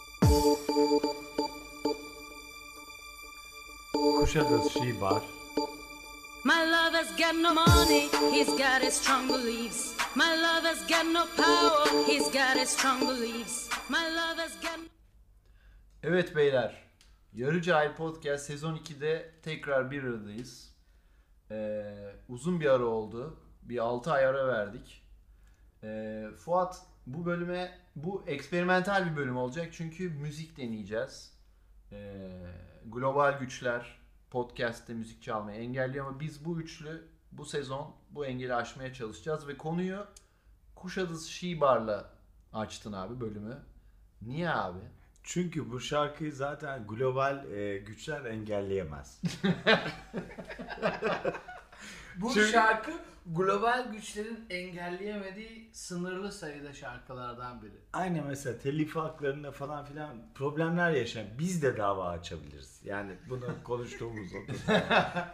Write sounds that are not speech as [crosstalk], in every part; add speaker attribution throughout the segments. Speaker 1: şey
Speaker 2: Kuşadası Bar
Speaker 3: My lover's got no money, he's got his strong beliefs. My lover's got no power, he's got his strong beliefs. My lover's got
Speaker 4: Evet beyler. Yarı Cahil Podcast sezon 2'de tekrar bir aradayız. Ee, uzun bir ara oldu. Bir 6 ay ara verdik. Ee, Fuat bu bölüme bu eksperimental bir bölüm olacak çünkü müzik deneyeceğiz. Ee, global güçler podcast'te müzik çalmayı engelliyor ama biz bu üçlü bu sezon bu engeli aşmaya çalışacağız ve konuyu Kuşadası Şibar'la açtın abi bölümü. Niye abi?
Speaker 1: Çünkü bu şarkıyı zaten global e, güçler
Speaker 5: [laughs]
Speaker 1: engelleyemez.
Speaker 5: Bu
Speaker 1: Çünkü-
Speaker 5: şarkı global güçlerin engelleyemediği sınırlı sayıda şarkılardan biri.
Speaker 1: Aynı mesela telif haklarında falan filan problemler yaşayan biz de dava açabiliriz. Yani
Speaker 5: [laughs]
Speaker 1: bunu konuştuğumuz o.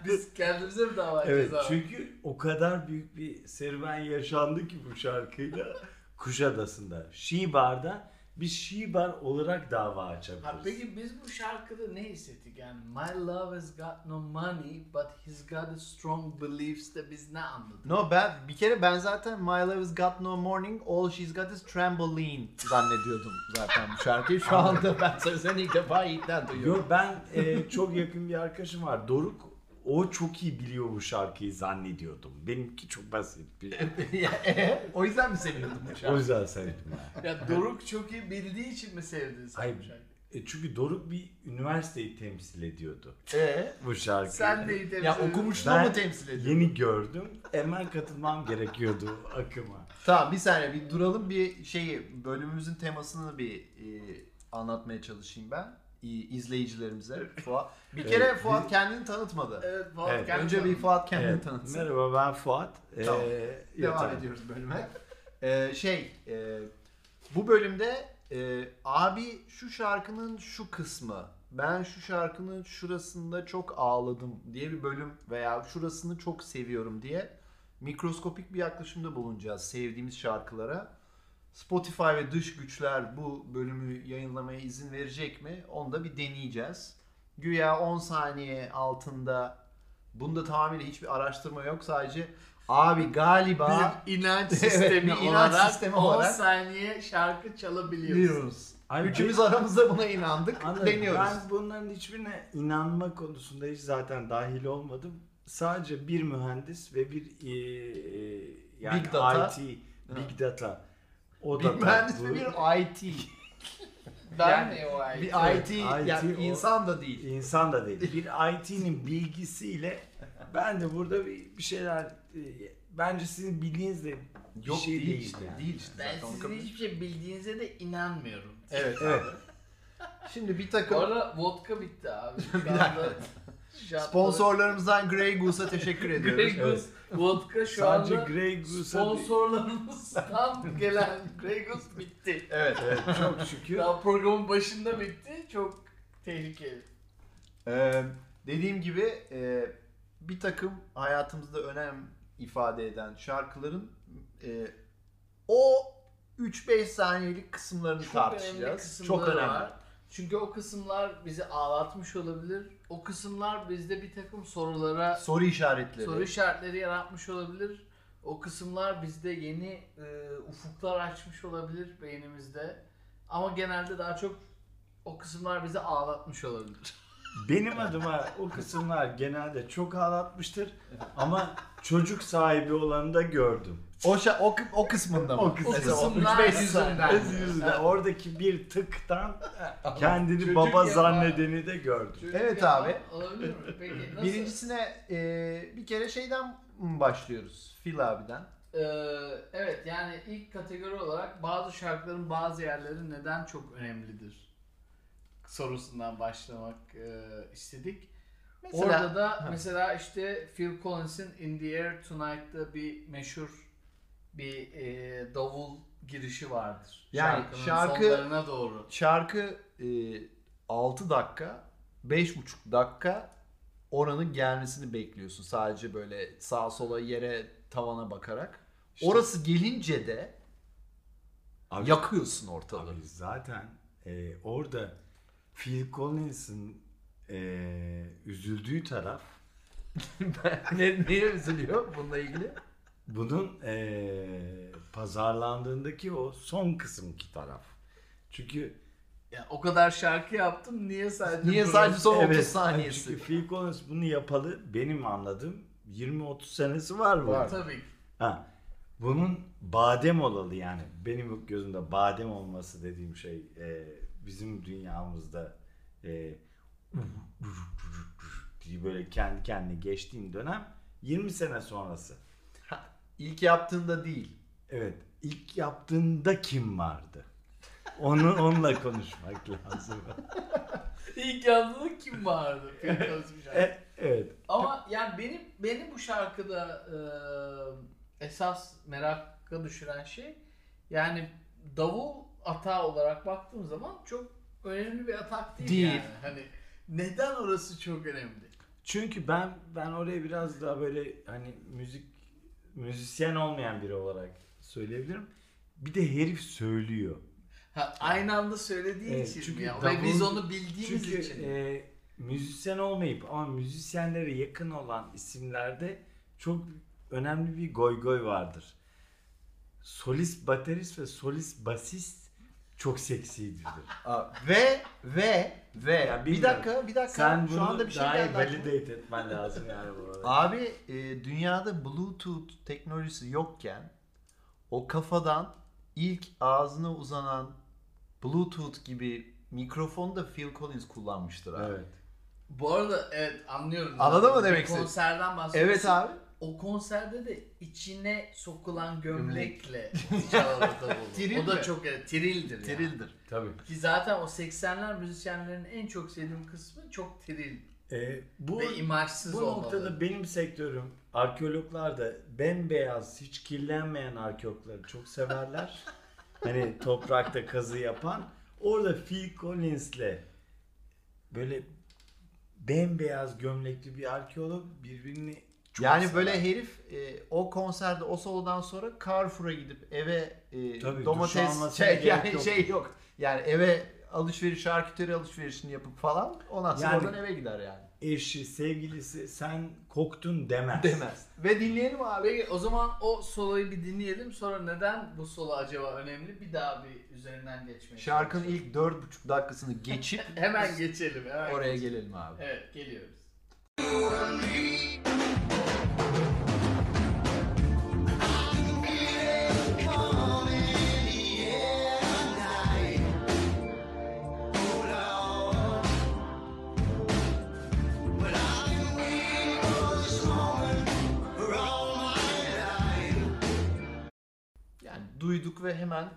Speaker 5: Biz kendimize mi dava
Speaker 1: evet
Speaker 5: edeceğiz abi?
Speaker 1: çünkü o kadar büyük bir serüven yaşandı ki bu
Speaker 5: [laughs]
Speaker 1: şarkıyla Kuşadası'nda. Şibar'da biz Şibar olarak dava açabiliriz.
Speaker 5: Ha, peki biz bu şarkıda ne hissettik? Yani my love has got no money but he's got a strong beliefs de biz ne anladık? [laughs]
Speaker 4: No ben bir kere ben zaten My Love's Got No Morning All She's Got Is Trampoline zannediyordum zaten bu şarkıyı. Şu anda [laughs] ben sözlerini ilk defa Yiğit'ten duyuyorum.
Speaker 1: Yok ben e, çok yakın bir arkadaşım var. Doruk o çok iyi biliyor bu şarkıyı zannediyordum. Benimki çok basit
Speaker 5: [laughs]
Speaker 1: bir.
Speaker 4: o yüzden mi seviyordun bu
Speaker 1: o
Speaker 4: şarkıyı?
Speaker 1: yüzden sevdim [laughs] ben.
Speaker 5: Ya Doruk çok iyi bildiği için mi sevdin sen bu
Speaker 1: Hayır.
Speaker 5: şarkıyı?
Speaker 1: e, çünkü Doruk bir üniversiteyi temsil ediyordu
Speaker 4: Ee,
Speaker 1: bu şarkıyı.
Speaker 5: Sen de iyi temsil
Speaker 4: ya
Speaker 5: ediyorsun.
Speaker 4: okumuşluğu
Speaker 1: Ben
Speaker 4: mu temsil ediyor?
Speaker 1: Yeni gördüm. Hemen katılmam gerekiyordu
Speaker 4: [laughs]
Speaker 1: akıma.
Speaker 4: Tamam bir saniye bir duralım bir şeyi bölümümüzün temasını bir e, anlatmaya çalışayım ben e, izleyicilerimize. Fuat. Bir kere
Speaker 1: Evet,
Speaker 4: Fuat kendini tanıtmadı.
Speaker 5: Evet, Fuat
Speaker 1: Evet,
Speaker 5: kendi
Speaker 4: Önce bir
Speaker 5: tanıdı.
Speaker 4: Fuat kendini
Speaker 1: Evet,
Speaker 4: tanıtsın.
Speaker 1: merhaba ben Fuat.
Speaker 4: Tamam,
Speaker 1: Ee,
Speaker 4: Devam
Speaker 1: yeter.
Speaker 4: ediyoruz bölüme. Ee, şey, e, bu bölümde e, abi şu şarkının şu kısmı, ben şu şarkının şurasında çok ağladım diye bir bölüm veya şurasını çok seviyorum diye mikroskopik bir yaklaşımda bulunacağız sevdiğimiz şarkılara. Spotify ve dış güçler bu bölümü yayınlamaya izin verecek mi? Onu da bir deneyeceğiz. Güya 10 saniye altında bunda tamamıyla hiçbir araştırma yok. Sadece abi galiba
Speaker 5: Bizim
Speaker 4: [laughs]
Speaker 5: inanç
Speaker 4: Evet,
Speaker 5: sistemi
Speaker 4: inanç
Speaker 5: olarak
Speaker 4: sistemi
Speaker 5: 10
Speaker 4: olarak-
Speaker 5: saniye şarkı çalabiliyoruz.
Speaker 4: biliyoruz.
Speaker 1: Abi,
Speaker 4: Üçümüz aramızda buna inandık.
Speaker 1: Anladım.
Speaker 4: Deniyoruz.
Speaker 1: Ben bunların hiçbirine inanma konusunda hiç zaten dahil olmadım. Sadece bir mühendis ve bir e, e, yani
Speaker 4: Big data.
Speaker 1: IT, big data. O
Speaker 4: Bir mühendis ve
Speaker 1: bu.
Speaker 4: bir IT.
Speaker 5: Ben
Speaker 4: Yani
Speaker 5: de o ay.
Speaker 4: Bir
Speaker 1: Evet,
Speaker 4: IT,
Speaker 1: IT
Speaker 4: yani
Speaker 1: o-
Speaker 4: insan da değil.
Speaker 1: insan da değil. Bir IT'nin bilgisiyle ben de burada bir, bir şeyler e, bence sizin bildiğiniz de bir
Speaker 4: Yok
Speaker 1: şey
Speaker 4: değil,
Speaker 1: değil,
Speaker 4: işte.
Speaker 1: yani.
Speaker 4: Değil işte.
Speaker 5: Ben
Speaker 4: zaten onu
Speaker 5: sizin
Speaker 4: kabul-
Speaker 5: hiçbir şey bildiğinize de inanmıyorum.
Speaker 4: Evet.
Speaker 1: Evet.
Speaker 4: Şimdi bir
Speaker 5: Bu
Speaker 4: takım
Speaker 5: arada vodka bitti abi.
Speaker 4: [laughs]
Speaker 5: Şu
Speaker 4: Bir
Speaker 5: anda-
Speaker 4: dakika.
Speaker 5: şu anda-
Speaker 4: sponsorlarımızdan Grey Goose'a teşekkür
Speaker 5: Grey
Speaker 4: ediyoruz.
Speaker 5: Goose. Vodka şu
Speaker 1: Sadece
Speaker 5: anda
Speaker 1: Grey Goose'a değil.
Speaker 5: sponsorlarımızdan gelen Grey Goose bitti.
Speaker 4: Evet.
Speaker 1: Evet, çok
Speaker 5: [laughs]
Speaker 1: şükür.
Speaker 5: Daha programın başında bitti. Çok tehlikeli.
Speaker 4: Ee, dediğim gibi e, bir takım hayatımızda önem ifade eden şarkıların e, o 3-5 saniyelik kısımlarını
Speaker 5: Çok önemli
Speaker 4: tartışacağız.
Speaker 5: kısımları
Speaker 4: Çok önemli.
Speaker 5: var. Çünkü o kısımlar bizi ağlatmış olabilir. O kısımlar bizde bir takım sorulara
Speaker 4: Soru işaretleri.
Speaker 5: soru işaretleri yaratmış olabilir. O kısımlar bizde yeni e, ufuklar açmış olabilir beynimizde. Ama genelde daha çok o kısımlar bizi ağlatmış olabilir.
Speaker 1: Benim adıma o kısımlar genelde çok ağlatmıştır ama çocuk sahibi olanı da gördüm.
Speaker 4: o, şa- o, kı- o kısmında mı?
Speaker 1: O kısmı.
Speaker 4: Mesela
Speaker 5: Kısımlar
Speaker 4: 3-5 yüzünden.
Speaker 5: yüzünden.
Speaker 1: Öz yüzüne oradaki bir tıktan kendini
Speaker 5: Çocuk
Speaker 1: baba
Speaker 5: yapar.
Speaker 1: zannedeni de gördüm.
Speaker 4: Evet
Speaker 5: Ya,
Speaker 4: abi.
Speaker 5: Olabilir mi?
Speaker 4: [laughs]
Speaker 5: Peki nasıl?
Speaker 4: Birincisine e, bir kere şeyden mi başlıyoruz? Fil abiden.
Speaker 5: Ee, evet yani ilk kategori olarak bazı şarkıların bazı yerleri neden çok önemlidir sorusundan başlamak e, istedik.
Speaker 4: Mesela-
Speaker 5: Orada da mesela işte Phil Collins'in In The Air Tonight'ta bir meşhur bir e, davul girişi vardır.
Speaker 4: Yani
Speaker 5: Şarkının
Speaker 4: şarkı-
Speaker 5: sonlarına doğru.
Speaker 4: Şarkı e, 6 dakika, 5,5 dakika, oranın gelmesini bekliyorsun. Sadece böyle sağa sola yere tavana bakarak. Orası gelince de
Speaker 1: Abi-
Speaker 4: yakıyorsun ortalığı.
Speaker 1: Abi zaten e, orada Phil Collins'in e, üzüldüğü taraf
Speaker 4: [laughs] ne, neye üzülüyor bununla ilgili?
Speaker 1: bunun e, pazarlandığındaki o son kısımki taraf. Çünkü
Speaker 5: Ya o kadar şarkı yaptım niye sadece
Speaker 4: Niye
Speaker 5: burası-
Speaker 4: sadece son
Speaker 1: Evet,
Speaker 4: 30 saniyesi?
Speaker 1: Çünkü Phil Collins bunu yapalı benim anladığım 20-30 senesi var mı?
Speaker 4: Var.
Speaker 5: Tabii ki.
Speaker 1: Ha. Bunun badem olalı yani benim gözümde badem olması dediğim şey e, bizim dünyamızda e, diye böyle kendi kendine geçtiğim dönem 20 sene sonrası.
Speaker 4: İlk yaptığında değil.
Speaker 1: Evet ilk yaptığında kim vardı? Onu onunla konuşmak lazım.
Speaker 5: İlk yazdığında kim vardı? Pink Floyd'un şarkısı.
Speaker 1: E, evet.
Speaker 5: Ama yani benim benim bu şarkıda e, esas meraka düşüren şey yani davul atağı olarak baktığım zaman çok önemli bir atak değil,
Speaker 4: Değil.
Speaker 5: yani. Hani neden orası çok önemli?
Speaker 1: Çünkü ben ben oraya biraz daha böyle hani müzik müzisyen olmayan biri olarak söyleyebilirim. Bir de herif söylüyor.
Speaker 5: Ha, aynı anda söylediği
Speaker 1: Evet,
Speaker 5: için
Speaker 1: çünkü
Speaker 5: mi ya?
Speaker 1: davul-
Speaker 5: Ve biz onu bildiğimiz
Speaker 1: Çünkü
Speaker 5: için.
Speaker 1: e, müzisyen olmayıp ama müzisyenlere yakın olan isimlerde çok önemli bir goy goy vardır. Solist baterist ve solist basist çok seksidir.
Speaker 4: Aa, Ve ve ve
Speaker 1: Ya
Speaker 4: bir
Speaker 1: bilmiyorum.
Speaker 4: dakika bir dakika
Speaker 1: Sen
Speaker 4: şu anda bir şey
Speaker 1: daha iyi
Speaker 4: geldi. aklıma.
Speaker 1: validate etmen lazım yani bu
Speaker 4: [laughs]
Speaker 1: arada.
Speaker 4: Abi e, dünyada Bluetooth teknolojisi yokken o kafadan ilk ağzına uzanan Bluetooth gibi mikrofonu da Phil Collins kullanmıştır abi.
Speaker 1: Evet.
Speaker 5: Bu arada evet anlıyorum.
Speaker 4: Anladın mı
Speaker 5: Bir
Speaker 4: demek istediğimi?
Speaker 5: Konserden bahsediyorsun.
Speaker 4: Evet abi.
Speaker 5: O konserde de içine sokulan gömlekle çalardı
Speaker 4: [laughs]
Speaker 5: davulu.
Speaker 4: Tril
Speaker 5: o da
Speaker 4: mi?
Speaker 5: çok evet, trildir yani.
Speaker 4: Trildir.
Speaker 1: Tabii.
Speaker 5: Ki zaten o 80'ler müzisyenlerin en çok sevdiğim kısmı çok tril
Speaker 1: E, bu
Speaker 5: ve imajsız
Speaker 1: Bu
Speaker 5: olmalı.
Speaker 1: noktada benim sektörüm arkeologlar da bembeyaz hiç kirlenmeyen arkeologları çok severler.
Speaker 4: [laughs]
Speaker 1: hani toprakta kazı yapan. Orada Phil Collins'le böyle bembeyaz gömlekli bir arkeolog birbirini çok
Speaker 4: yani
Speaker 1: sever.
Speaker 4: böyle herif e, o konserde o solodan sonra Carrefour'a gidip eve e,
Speaker 1: Tabii, duş
Speaker 4: [laughs]
Speaker 1: almasına
Speaker 4: domates şey,
Speaker 1: gerek
Speaker 4: yani
Speaker 1: yok.
Speaker 4: şey yok. Yani eve alışveriş, şarküteri alışverişini yapıp falan ondan sonra
Speaker 1: Yani-
Speaker 4: oradan eve gider yani.
Speaker 1: eşi, sevgilisi sen koktun demez.
Speaker 4: Demez. Ve dinleyelim abi.
Speaker 5: Peki o zaman o soloyu bir dinleyelim sonra neden bu solo acaba önemli bir daha bir üzerinden geçmeye
Speaker 4: Şarkının
Speaker 5: çalışalım.
Speaker 4: ilk 4,5 dakikasını geçip
Speaker 1: [laughs]
Speaker 5: Hemen geçelim hemen.
Speaker 4: oraya gelelim abi.
Speaker 5: Evet geliyoruz.
Speaker 4: Yani duyduk ve hemen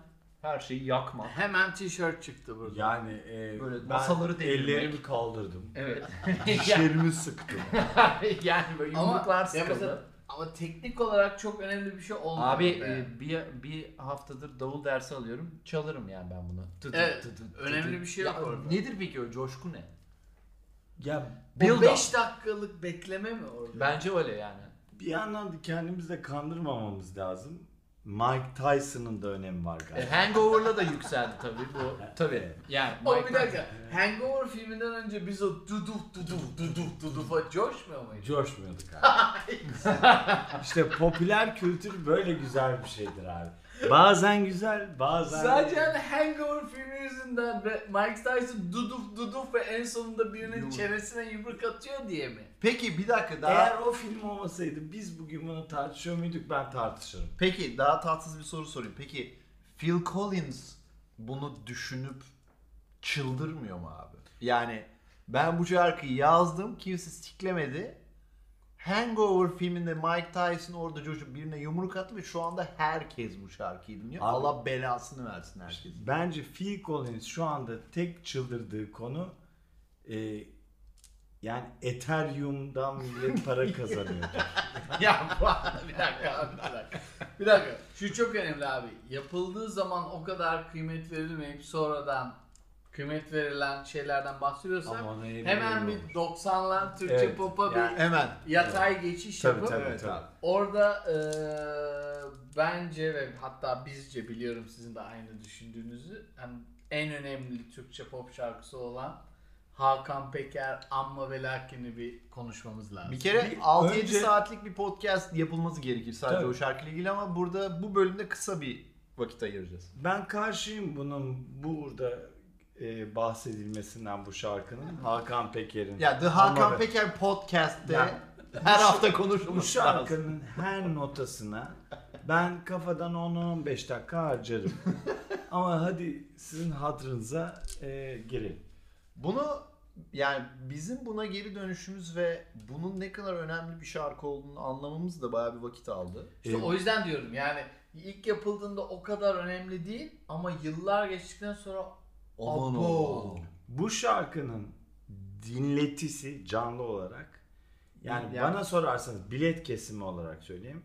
Speaker 4: her şeyi
Speaker 5: [laughs]
Speaker 4: yakma.
Speaker 5: Hemen tişört çıktı burada.
Speaker 1: Yani e,
Speaker 4: Böyle
Speaker 1: ben
Speaker 4: masaları devirmek.
Speaker 1: ellerimi kaldırdım.
Speaker 4: Evet.
Speaker 1: Dişlerimi
Speaker 4: [laughs]
Speaker 1: sıktım.
Speaker 4: yani böyle
Speaker 5: Ama,
Speaker 4: yumruklar
Speaker 5: ya
Speaker 4: sıkıldı.
Speaker 5: mesela, ama teknik olarak çok önemli bir şey olmadı.
Speaker 4: Abi
Speaker 5: be.
Speaker 4: e, bir bir haftadır davul dersi alıyorum. Çalarım yani ben bunu. Tı tı
Speaker 5: Evet,
Speaker 4: tı tı tı
Speaker 5: önemli
Speaker 4: tı.
Speaker 5: bir şey yok
Speaker 4: Ya
Speaker 5: orada.
Speaker 4: Nedir peki o coşku ne?
Speaker 1: ya
Speaker 5: Bu
Speaker 4: Build
Speaker 5: 5
Speaker 4: up.
Speaker 5: dakikalık bekleme mi orada?
Speaker 4: Bence öyle yani.
Speaker 1: Bir yandan da kendimizi de kandırmamamız lazım. Mike Tyson'ın da önemi var
Speaker 4: E,
Speaker 1: galiba.
Speaker 4: Hangover'la da yükseldi tabii bu. Tabii. Yani
Speaker 5: Oğlum
Speaker 4: Mike
Speaker 5: bir dakika. Hangover filminden önce biz o duduf duduf duduf dudufa coşmuyor muyduk?
Speaker 1: Coşmuyorduk abi. [laughs] işte popüler kültür böyle güzel bir şeydir abi. Bazen güzel, bazen...
Speaker 5: Sadece hani Hangover filmi yüzünden ve Mike Tyson duduf duduf ve en sonunda birinin
Speaker 4: Yumruk.
Speaker 5: çenesine yumruk atıyor diye mi?
Speaker 4: Peki bir dakika daha.
Speaker 1: Eğer o film olmasaydı biz bugün bunu tartışıyor muyduk ben tartışırım.
Speaker 4: Peki daha tatsız bir soru sorayım. Peki Phil Collins bunu düşünüp çıldırmıyor mu abi? Yani ben bu şarkıyı yazdım kimse siklemedi. Hangover filminde Mike Tyson orada coşup birine yumruk attı ve şu anda herkes bu şarkıyı dinliyor.
Speaker 1: Abi-
Speaker 4: Allah belasını versin herkesin.
Speaker 1: Bence Phil Collins şu anda tek çıldırdığı konu e, yani Ethereum'dan millet para kazanıyor.
Speaker 5: [laughs] ya bu arada bir dakika abi bir dakika. Bir dakika. Şu çok önemli abi. Yapıldığı zaman o kadar kıymet verilmeyip sonradan kıymet verilen şeylerden bahsediyorsak
Speaker 1: Ama ne
Speaker 5: hemen
Speaker 1: bileyim.
Speaker 5: bir 90'lar Türkçe
Speaker 1: Evet,
Speaker 5: pop'a bir
Speaker 1: yani-
Speaker 4: Hemen.
Speaker 5: yatay geçiş
Speaker 1: Tabii
Speaker 5: yapıp
Speaker 1: tabii
Speaker 4: Evet
Speaker 1: tabii.
Speaker 5: orada eee, bence ve hatta bizce biliyorum sizin de aynı düşündüğünüzü hani en önemli Türkçe pop şarkısı olan Hakan Peker Amma ve Lakin'i bir konuşmamız lazım.
Speaker 4: Bir kere
Speaker 1: Bir
Speaker 4: 6-7
Speaker 1: önce-
Speaker 4: saatlik bir podcast yapılması gerekir sadece
Speaker 1: Tabii.
Speaker 4: o şarkıyla ilgili ama burada bu bölümde kısa bir vakit ayıracağız.
Speaker 1: Ben karşıyım bunun burada e, bahsedilmesinden bu şarkının. Hakan Peker'in.
Speaker 4: Ya The Hakan
Speaker 1: Ama-
Speaker 4: Peker podcast'te
Speaker 1: Ya.
Speaker 4: her hafta
Speaker 1: Bu
Speaker 4: konuşulmuş lazım.
Speaker 1: şarkının her notasına ben kafadan 10-15 dakika
Speaker 4: [laughs]
Speaker 1: harcarım. Ama hadi sizin hatırınıza e, girin.
Speaker 4: Bunu yani bizim buna geri dönüşümüz ve bunun ne kadar önemli bir şarkı olduğunu anlamamız da bayağı bir vakit aldı.
Speaker 5: İşte
Speaker 1: Ee,
Speaker 5: o yüzden diyorum yani ilk yapıldığında o kadar önemli değil ama yıllar geçtikten sonra
Speaker 4: Aman
Speaker 5: Abo.
Speaker 4: Allah'ım.
Speaker 1: Bu şarkının dinletisi canlı olarak yani
Speaker 4: Yani-
Speaker 1: bana sorarsanız bilet kesimi olarak söyleyeyim.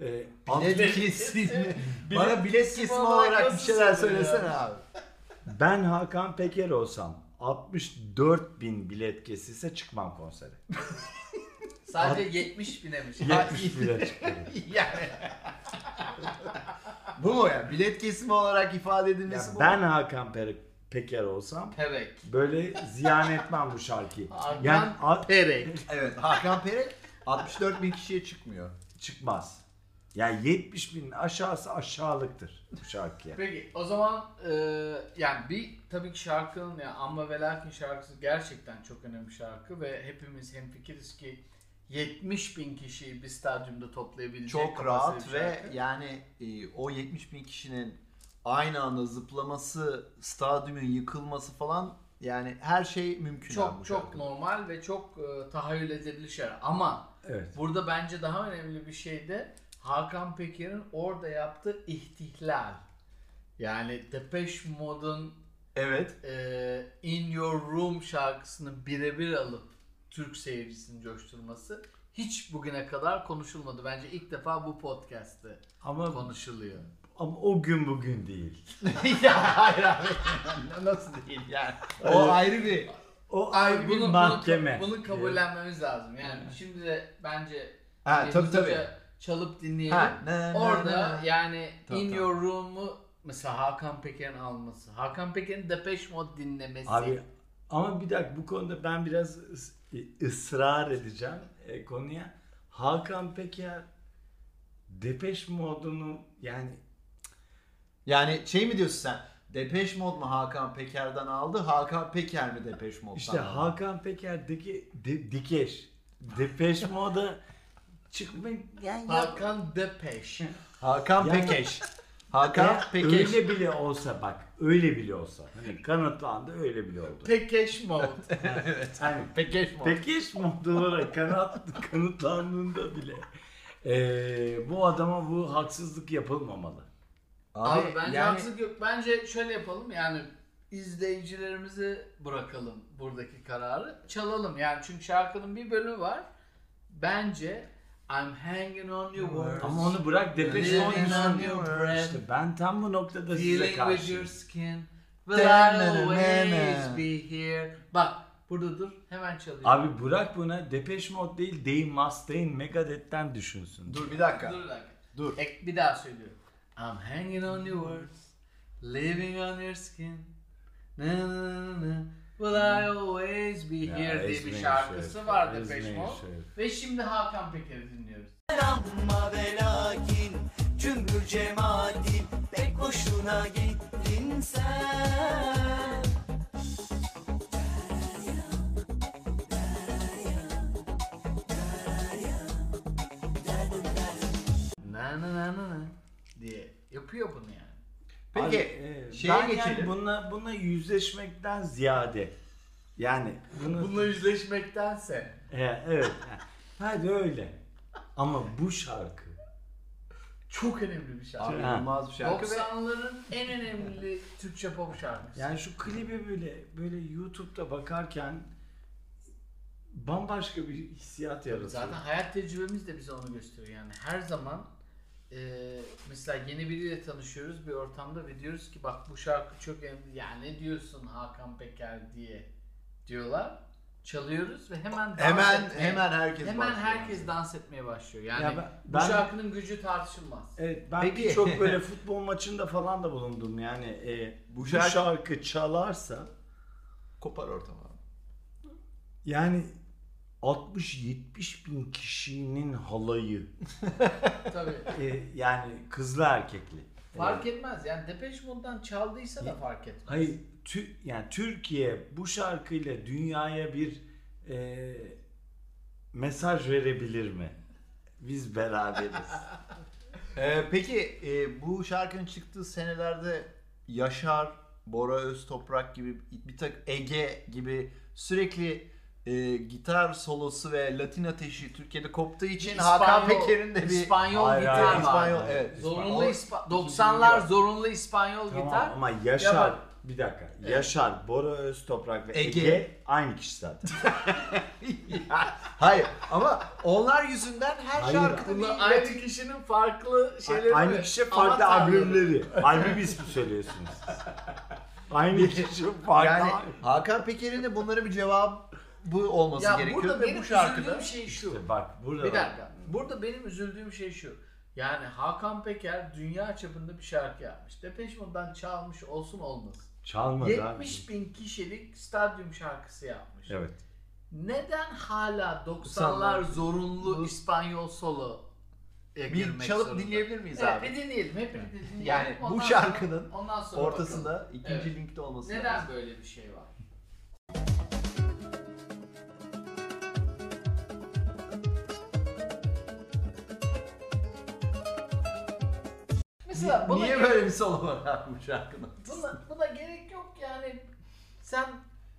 Speaker 1: E,
Speaker 4: Bilet
Speaker 1: altmış-
Speaker 4: kesimi. Bana bilet kesimi olarak bir
Speaker 5: nasıl
Speaker 4: şeyler
Speaker 5: söylüyor ya?
Speaker 4: söylesene abi.
Speaker 1: ben Hakan Peker olsam 64 bin bilet kesilse çıkmam konsere.
Speaker 5: [laughs] sadece
Speaker 1: [laughs]
Speaker 5: 70 binemiş.
Speaker 1: 70 bile çıkmam.
Speaker 5: [laughs] yani
Speaker 4: Bu mu ya? Bilet kesimi olarak ifade
Speaker 1: Ya
Speaker 4: edilmesi bu
Speaker 1: ben
Speaker 4: mu?
Speaker 1: Hakan Per- Peker olsam
Speaker 5: perek.
Speaker 1: böyle ziyan etmem bu
Speaker 5: [laughs]
Speaker 1: şarkıyı.
Speaker 5: Hakan
Speaker 1: Yani a-
Speaker 5: Perek.
Speaker 4: Evet Hakan Perek 64 bin kişiye çıkmıyor.
Speaker 1: çıkmaz. Yani 70 binin aşağısı aşağılıktır bu şarkıya.
Speaker 5: Peki o zaman e, yani bir tabii ki şarkının yani Amma ve Lakin şarkısı gerçekten çok önemli bir şarkı ve hepimiz hemfikiriz ki 70 bin kişiyi bir stadyumda toplayabilecek
Speaker 4: Çok
Speaker 1: Şey
Speaker 5: kapasitede
Speaker 4: rahat
Speaker 5: bir
Speaker 4: ve
Speaker 5: şarkı.
Speaker 4: yani e, o 70 bin kişinin aynı anda zıplaması, stadyumun yıkılması falan yani her şey mümkün. abi bu
Speaker 5: çok çok
Speaker 4: şarkıda.
Speaker 5: normal ve çok e, tahayyül edilebilir şarkı ama
Speaker 1: Evet.
Speaker 5: Burada bence daha önemli bir şey de Hakan Peker'in orada yaptığı ihtihlal. Yani Depeche Mode'un
Speaker 1: [laughs]
Speaker 4: Evet.
Speaker 5: e, In Your Room şarkısını birebir alıp Türk seyircisini coşturması hiç bugüne kadar konuşulmadı. Bence ilk defa bu podcast'te
Speaker 1: Ama,
Speaker 4: [laughs]
Speaker 5: konuşuluyor.
Speaker 1: ama o gün bugün değil.
Speaker 4: ya hayır abi.
Speaker 5: [laughs]
Speaker 4: Nasıl değil yani. O
Speaker 1: Öyle.
Speaker 4: ayrı bir.
Speaker 1: O ayrı bir
Speaker 5: bunu-
Speaker 1: mahkeme.
Speaker 5: Bunu, bunu kabullenmemiz lazım. Yani şimdi de bence
Speaker 4: Ha tabii
Speaker 5: hızlıca
Speaker 4: tabii.
Speaker 5: çalıp dinleyelim.
Speaker 4: Ha, ne, ne,
Speaker 5: Orada
Speaker 4: ne, ne.
Speaker 5: yani
Speaker 4: Tamam,
Speaker 5: In
Speaker 4: tamam.
Speaker 5: Your Room'u mesela Hakan Peker'in alması, Hakan Peker'in Depeche Mode dinlemesi.
Speaker 1: Abi ama bir dakika bu konuda ben biraz ıs- e, ısrar edeceğim e, konuya. Hakan Peker Depeş modunu yani
Speaker 4: Yani şey mi diyorsun sen? Depeş Mode mu Hakan Peker'den aldı? Hakan Peker mi Depeş Mode'dan
Speaker 1: İşte
Speaker 4: aldı?
Speaker 1: Hakan Peker diki, di, dikeş. Depeş moda çıkmayı yani yap-
Speaker 5: Hakan
Speaker 4: [laughs]
Speaker 5: Depeche.
Speaker 4: Hakan
Speaker 1: Yani-
Speaker 4: Pekeş. Hakan
Speaker 1: Ya
Speaker 4: Pekeş.
Speaker 1: Öyle bile olsa bak öyle bile olsa. Hani kanıtlandı öyle bile oldu. [laughs]
Speaker 5: Pekeş Mode.
Speaker 1: Hani
Speaker 4: Pekeş Mode.
Speaker 1: Pekeş modu olarak kanat, kanıtlandığında bile eee, bu adama bu haksızlık yapılmamalı.
Speaker 5: Abi, bence haksızlık yok. Bence şöyle yapalım yani izleyicilerimizi bırakalım buradaki kararı. Çalalım yani çünkü şarkının bir bölümü var. Bence I'm hanging on your words.
Speaker 1: Ama onu bırak Depeş
Speaker 5: Living
Speaker 1: modu
Speaker 5: on your breath.
Speaker 1: İşte ben tam bu noktada size
Speaker 5: Dealing with your
Speaker 1: karşıyım.
Speaker 5: skin. Will
Speaker 4: Dana,
Speaker 5: I always
Speaker 4: dana.
Speaker 5: be here? Bak burada dur hemen çalıyor.
Speaker 1: Abi bırak buna Depeş mod değil Dave Mustaine Megadeth'ten düşünsün.
Speaker 4: Dur bir dakika.
Speaker 5: Dur bir dakika.
Speaker 4: Dur.
Speaker 5: Ek bir daha söylüyorum. I'm hanging on your words, living on your skin. Na na na na. Will I always be
Speaker 1: Ya,
Speaker 5: here diye bir
Speaker 1: ezmeyin
Speaker 5: şarkısı
Speaker 1: şöyle,
Speaker 5: vardı
Speaker 1: ezmeyin
Speaker 5: Depeche Mode.
Speaker 1: şöyle.
Speaker 5: Ve şimdi Hakan Peker'i dinliyoruz.
Speaker 2: Amma ve lakin cümbür cemaatin pek boşuna gittin sen.
Speaker 5: Na na na na na diye yapıyor bunu yani.
Speaker 4: Peki
Speaker 1: e,
Speaker 4: şeye
Speaker 1: ben
Speaker 4: geçelim.
Speaker 1: Yani bununla, bununla yüzleşmekten ziyade yani bunu,
Speaker 5: Bununla yüzleşmektense
Speaker 1: He, evet. he. Hadi öyle. Ama bu şarkı
Speaker 5: çok önemli bir şarkı.
Speaker 4: Abi
Speaker 1: Ha.
Speaker 4: inanılmaz bir şarkı ve
Speaker 5: 90'ların en önemli Türkçe pop şarkısı.
Speaker 1: yani şu klibi böyle böyle YouTube'da bakarken bambaşka bir hissiyat yaratıyor.
Speaker 5: Zaten hayat tecrübemiz de bize onu gösteriyor yani. Her zaman e, mesela yeni biriyle tanışıyoruz bir ortamda ve diyoruz ki bak bu şarkı çok önemli. Ya ne diyorsun Hakan Peker diye diyorlar. Çalıyoruz ve hemen dans
Speaker 4: Hemen
Speaker 5: etmeye-
Speaker 4: hemen herkes
Speaker 5: hemen
Speaker 4: başlıyor.
Speaker 5: herkes dans etmeye başlıyor. Yani
Speaker 1: Ya ben-
Speaker 5: bu
Speaker 1: ben-
Speaker 5: şarkının gücü tartışılmaz.
Speaker 1: Evet ben
Speaker 4: Peki.
Speaker 1: birçok [laughs] böyle futbol maçında falan da bulundum yani e,
Speaker 4: Bu
Speaker 1: bu,
Speaker 4: şarkı-
Speaker 1: şarkı... çalarsa
Speaker 4: kopar ortam abi.
Speaker 1: yani 60-70 bin kişinin halayı
Speaker 5: Tabii.
Speaker 1: E, yani kızlı erkekli.
Speaker 5: Fark etmez. Yani Depeche Mode'dan çaldıysa da fark etmez.
Speaker 1: Hayır, tü, yani Türkiye bu şarkıyla dünyaya bir e, mesaj verebilir mi? Biz [laughs] beraberiz.
Speaker 4: Ee, peki e, bu şarkının çıktığı senelerde Yaşar, Bora Öztoprak gibi bir tak Ege gibi sürekli e, gitar solosu ve Latin ateşi Türkiye'de koptuğu için Hakan
Speaker 5: İspanyol-
Speaker 4: Peker'in de bir
Speaker 5: İspanyol
Speaker 1: Hayır,
Speaker 5: gitar
Speaker 1: hayır,
Speaker 5: var.
Speaker 4: İspanyol
Speaker 1: vardı.
Speaker 4: evet.
Speaker 5: Zorunlu
Speaker 4: İspanyol.
Speaker 5: İspa- 90'lar zorunlu İspanyol
Speaker 1: tamam
Speaker 5: gitar.
Speaker 1: ama Yaşar
Speaker 5: Ya
Speaker 1: bir dakika. Yaşar, Bora Öztoprak ve
Speaker 4: Ege.
Speaker 1: Ege, aynı kişi zaten.
Speaker 4: Hayır ama onlar yüzünden her
Speaker 1: Hayır.
Speaker 4: şarkıda bir
Speaker 5: Bunlar aynı kişinin farklı şeyleri
Speaker 1: aynı
Speaker 5: mi?
Speaker 1: kişi farklı
Speaker 5: Avatarları.
Speaker 1: albümleri. [laughs] Albüm ismi söylüyorsunuz. Aynı kişi farklı.
Speaker 4: yani
Speaker 1: albüm.
Speaker 4: Hakan Peker'in de bunlara bir cevabı olması
Speaker 5: Ya
Speaker 4: gerekiyor
Speaker 5: burada
Speaker 4: ve
Speaker 5: benim
Speaker 4: bu şarkıda
Speaker 5: üzüldüğüm şey şu.
Speaker 1: İşte bak burada
Speaker 5: Bir
Speaker 1: bak.
Speaker 5: dakika. Burada benim üzüldüğüm şey şu. Yani Hakan Peker dünya çapında bir şarkı yapmış. Depeche Mode'dan çalmış olsun olmasın.
Speaker 1: çalmadı
Speaker 5: 70 bin kişilik stadyum şarkısı yapmış.
Speaker 1: abi. Evet.
Speaker 5: Neden hala
Speaker 4: 90'lar
Speaker 5: 90'lar zorunlu İspanyol solo e,
Speaker 4: bir
Speaker 5: girmek
Speaker 4: çalıp
Speaker 5: zorunda?
Speaker 4: dinleyebilir miyiz
Speaker 5: Evet,
Speaker 4: abi?
Speaker 5: bir dinleyelim. Hep bir dinleyelim.
Speaker 4: Yani bu
Speaker 5: Ondan sonra-
Speaker 4: şarkının
Speaker 5: ondan sonra
Speaker 4: Ortasında
Speaker 5: bakalım.
Speaker 4: ikinci
Speaker 5: Evet.
Speaker 4: linkte olması lazım.
Speaker 5: Neden böyle bir şey var? Mesela buna,
Speaker 4: Niye böyle bir solo var abi bu şarkının?
Speaker 5: buna, buna gerek yok yani. Sen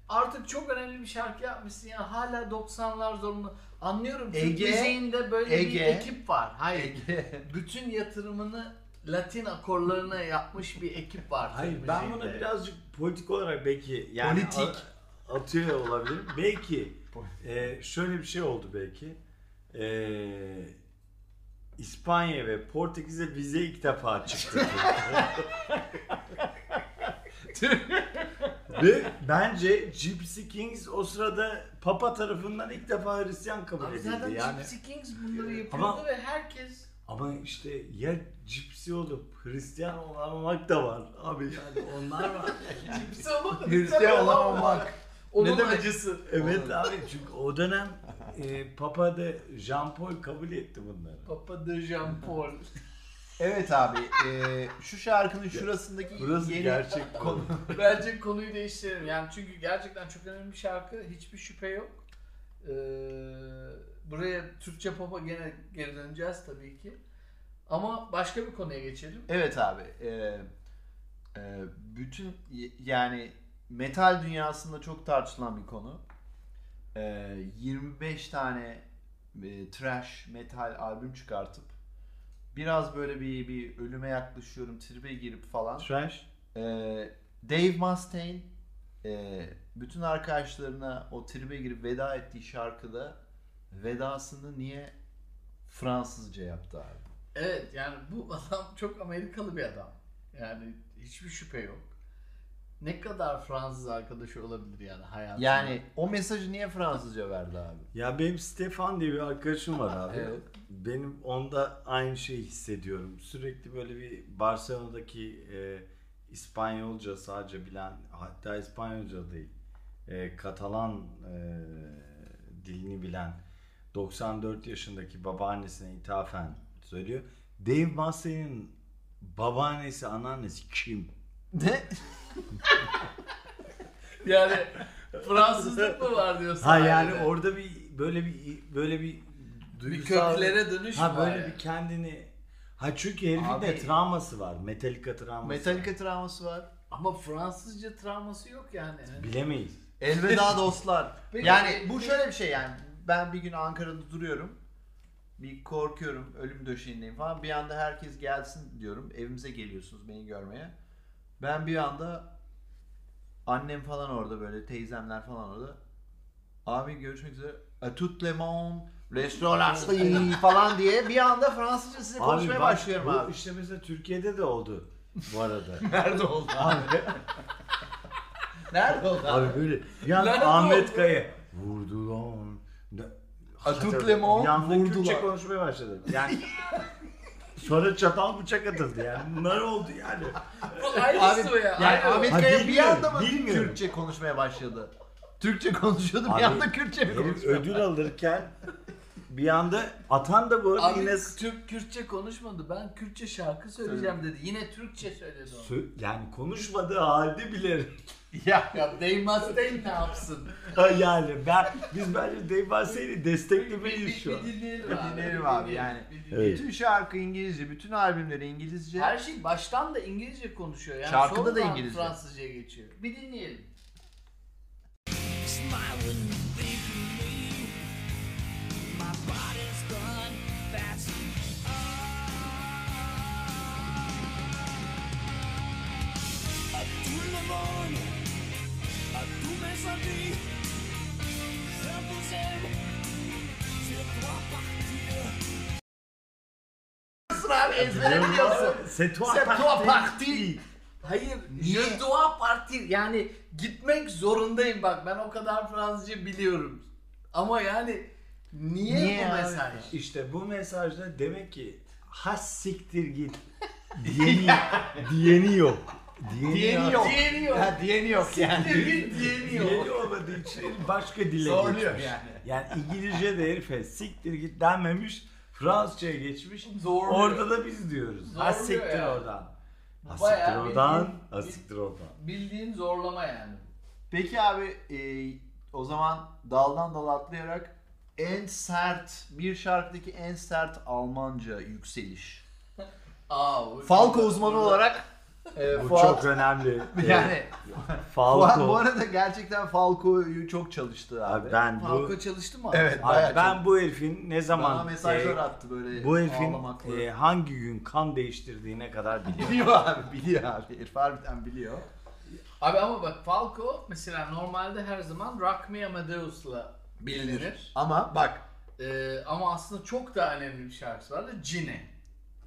Speaker 5: artık çok önemli bir şarkı yapmışsın yani hala 90'lar zorunlu. Anlıyorum Türk
Speaker 4: Ege-
Speaker 5: müziğinde böyle
Speaker 4: Ege-
Speaker 5: bir ekip var. Hayır.
Speaker 4: Ege.
Speaker 5: Bütün yatırımını Latin akorlarına yapmış bir ekip var. Türk
Speaker 1: Hayır ben buna
Speaker 5: müziğinde.
Speaker 1: birazcık politik olarak belki yani
Speaker 4: Politik.
Speaker 1: a- atıyor olabilirim. belki e, şöyle bir şey oldu belki. E, İspanya ve Portekiz'e vize ilk defa çıktı. ve bence Gypsy Kings o sırada Papa tarafından ilk defa Hristiyan kabul
Speaker 5: Abi
Speaker 1: edildi.
Speaker 5: zaten
Speaker 1: yani.
Speaker 5: Gypsy Kings bunları yapıyordu
Speaker 1: Ama-
Speaker 5: ve herkes
Speaker 1: Ama işte ya Gypsy olup Hristiyan olamamak da var abi yani onlar var.
Speaker 5: Gypsy olamadı.
Speaker 4: Hristiyan olamamak.
Speaker 5: Onun
Speaker 4: Ne demek?
Speaker 5: acısı.
Speaker 1: Evet
Speaker 4: Olur.
Speaker 1: abi çünkü o dönem e, Papa da Jean Paul kabul etti bunları.
Speaker 5: Papa de Jean Paul.
Speaker 4: Evet abi e, şu şarkının şurasındaki
Speaker 1: Burası
Speaker 4: yeni
Speaker 1: gerçek
Speaker 4: konu.
Speaker 1: konu.
Speaker 5: Bence konuyu değiştirelim. Yani çünkü gerçekten çok önemli bir şarkı. Hiçbir şüphe yok. Ee, buraya Türkçe pop'a gene geri döneceğiz tabii ki. Ama başka bir konuya geçelim.
Speaker 4: Evet abi. e, e, bütün y- yani metal dünyasında çok tartışılan bir konu. E, 25 tane e, trash metal albüm çıkartıp biraz böyle bir bir ölüme yaklaşıyorum, tribe girip falan.
Speaker 1: Trash.
Speaker 4: E, Dave Mustaine e, bütün arkadaşlarına o tribe girip veda ettiği şarkıda vedasını niye Fransızca yaptı abi?
Speaker 5: Evet yani bu [laughs] adam çok Amerikalı bir adam. Yani hiçbir şüphe yok. Ne kadar Fransız arkadaşı olabilir yani hayatında?
Speaker 4: Yani o mesajı niye Fransızca verdi abi?
Speaker 1: Ya benim Stefan diye bir arkadaşım var abi.
Speaker 4: Evet.
Speaker 1: Benim onda aynı şeyi hissediyorum. Sürekli böyle bir Barcelona'daki e, İspanyolca sadece bilen hatta İspanyolca değil e, Katalan e, dilini bilen 94 yaşındaki babaannesine ithafen söylüyor. Dave Mustaine'in babaannesi anneannesi kim?
Speaker 4: Ne?
Speaker 5: [laughs] Yani Fransızlık mı var diyorsun?
Speaker 1: Ha yani
Speaker 5: ailede?
Speaker 1: orada bir böyle bir böyle bir
Speaker 5: bir
Speaker 1: duygusal-
Speaker 5: köklere dönüş
Speaker 1: Ha
Speaker 5: mü var
Speaker 1: böyle
Speaker 5: yani?
Speaker 1: bir kendini Ha çünkü herifin
Speaker 4: Abi-
Speaker 1: de travması var. Metallica travması.
Speaker 4: Metallica travması var.
Speaker 5: Ama Fransızca travması yok yani.
Speaker 1: var. Bilemeyiz.
Speaker 4: [laughs] Elveda dostlar.
Speaker 5: Peki,
Speaker 4: yani bu
Speaker 5: peki.
Speaker 4: şöyle bir şey yani. Ben bir gün Ankara'da duruyorum. Bir korkuyorum. Ölüm döşeğindeyim falan. Bir anda herkes gelsin diyorum. Evimize geliyorsunuz beni görmeye. Ben bir anda annem falan orada böyle teyzemler falan orada. Abi görüşmek üzere. A tout le monde. Restoransta iyi [laughs] falan diye bir anda Fransızcası konuşmaya
Speaker 1: bak,
Speaker 4: başlıyorum
Speaker 1: bu
Speaker 4: abi.
Speaker 1: İşte mesela Türkiye'de de oldu bu arada.
Speaker 4: [laughs] Nerede oldu abi?
Speaker 5: Nerede oldu?
Speaker 1: Abi böyle bir an
Speaker 5: Lanet
Speaker 1: Ahmet
Speaker 5: oldu.
Speaker 1: Kaya vurdu lan. Ne-
Speaker 4: A tout
Speaker 1: Hatta
Speaker 4: le monde
Speaker 1: bir anda
Speaker 4: vurdular.
Speaker 1: Kürtçe konuşmaya başladı. Yani [laughs] sonra çatal bıçak atıldı yani. Bunlar oldu yani.
Speaker 5: Bu aynısı bu ya.
Speaker 4: yani
Speaker 5: Aynı o.
Speaker 4: Ahmet
Speaker 1: Ha,
Speaker 4: Kaya bir
Speaker 1: bilmiyorum,
Speaker 4: anda mı
Speaker 1: bilmiyorum.
Speaker 4: Kürtçe konuşmaya başladı? Türkçe konuşuyordu bir
Speaker 1: Abi,
Speaker 4: anda Kürtçe mi
Speaker 1: Herif
Speaker 4: konuşuyor?
Speaker 1: ödül alırken bir anda atan da bu arada
Speaker 5: Abi
Speaker 1: yine
Speaker 5: Türk Kürtçe konuşmadı. Ben Kürtçe şarkı söyleyeceğim dedi. Yine Türkçe söyledi onu.
Speaker 1: Sö- yani konuşmadığı halde bile
Speaker 4: [laughs] Ya
Speaker 5: Ya Dave Mustaine ne yapsın?
Speaker 1: Ha yani ben biz bence Dave Bassey'i
Speaker 5: Bir,
Speaker 1: desteklemeliyiz
Speaker 5: bir,
Speaker 1: şu an.
Speaker 5: bir dinleyelim
Speaker 4: Bir
Speaker 5: abi.
Speaker 4: dinleyelim
Speaker 5: bir
Speaker 4: abi
Speaker 5: dinleyelim,
Speaker 4: yani.
Speaker 5: bir dinleyelim.
Speaker 1: Evet.
Speaker 4: bütün şarkı İngilizce, bütün albümleri İngilizce.
Speaker 5: Her şey baştan da İngilizce konuşuyor. Yani
Speaker 4: Şarkıda da
Speaker 5: sonradan
Speaker 4: İngilizce.
Speaker 5: Fransızcaya geçiyor. Bir dinleyelim. Sıra abi ezbere biliyorsun.
Speaker 1: C'est toi
Speaker 5: C'est toi
Speaker 1: parti.
Speaker 5: parti. Hayır,
Speaker 4: Niye?
Speaker 5: je dois partir. Yani gitmek zorundayım bak. Ben o kadar Fransızca biliyorum. Ama yani niye,
Speaker 4: Niye
Speaker 5: bu
Speaker 4: abi?
Speaker 5: mesaj?
Speaker 1: İşte bu mesajda demek ki ha siktir git diyeni,
Speaker 5: [laughs]
Speaker 1: diyeni yok. Diyeni,
Speaker 4: Diyeni
Speaker 1: yok.
Speaker 4: yok.
Speaker 5: Diyeni yok.
Speaker 4: Ha, diyeni yok yani.
Speaker 5: Diyeni, diyeni yok.
Speaker 1: Diyeni olmadığı için herif başka dile
Speaker 4: Zorluyor
Speaker 1: geçmiş.
Speaker 4: yani.
Speaker 1: Yani İngilizce de herife siktir git denmemiş. Fransızca'ya geçmiş.
Speaker 5: Zorluyor.
Speaker 1: Orada da biz diyoruz. Ha
Speaker 5: Zorluyor
Speaker 1: siktir
Speaker 5: yani.
Speaker 1: oradan. Ha
Speaker 5: Bayağı
Speaker 1: siktir
Speaker 5: bildiğin-
Speaker 1: oradan. Ha siktir oradan.
Speaker 5: Bildiğin zorlama yani.
Speaker 4: Peki abi e, o zaman daldan dala atlayarak en sert bir şarkıdaki en sert Almanca yükseliş.
Speaker 5: Aa, bu-
Speaker 4: Falco uzmanı olarak e,
Speaker 1: Bu
Speaker 4: Fuat
Speaker 1: çok
Speaker 5: [laughs]
Speaker 1: önemli.
Speaker 4: yani Fuat bu
Speaker 1: Falco.
Speaker 4: arada gerçekten Falco'yu çok çalıştı abi.
Speaker 1: Abi ben bu
Speaker 5: Falco çalıştı mı?
Speaker 4: evet
Speaker 1: Abi
Speaker 4: bayağı
Speaker 1: ben
Speaker 4: çalıştı.
Speaker 1: bu herifin ne
Speaker 4: bana
Speaker 1: zaman
Speaker 4: mesajlar
Speaker 1: e,
Speaker 4: attı böyle
Speaker 1: bu herifin
Speaker 4: ağlamaklı.
Speaker 1: e, hangi gün kan değiştirdiğine kadar
Speaker 4: [laughs]
Speaker 1: biliyorum.
Speaker 4: biliyor abi biliyor abi. Herif harbiden biliyor.
Speaker 5: Abi ama bak Falco mesela normalde her zaman Rock Me Amadeus'la bilinir.
Speaker 4: Ama bak
Speaker 5: Ee, ama aslında çok daha önemli bir şarkısı vardı. Cine.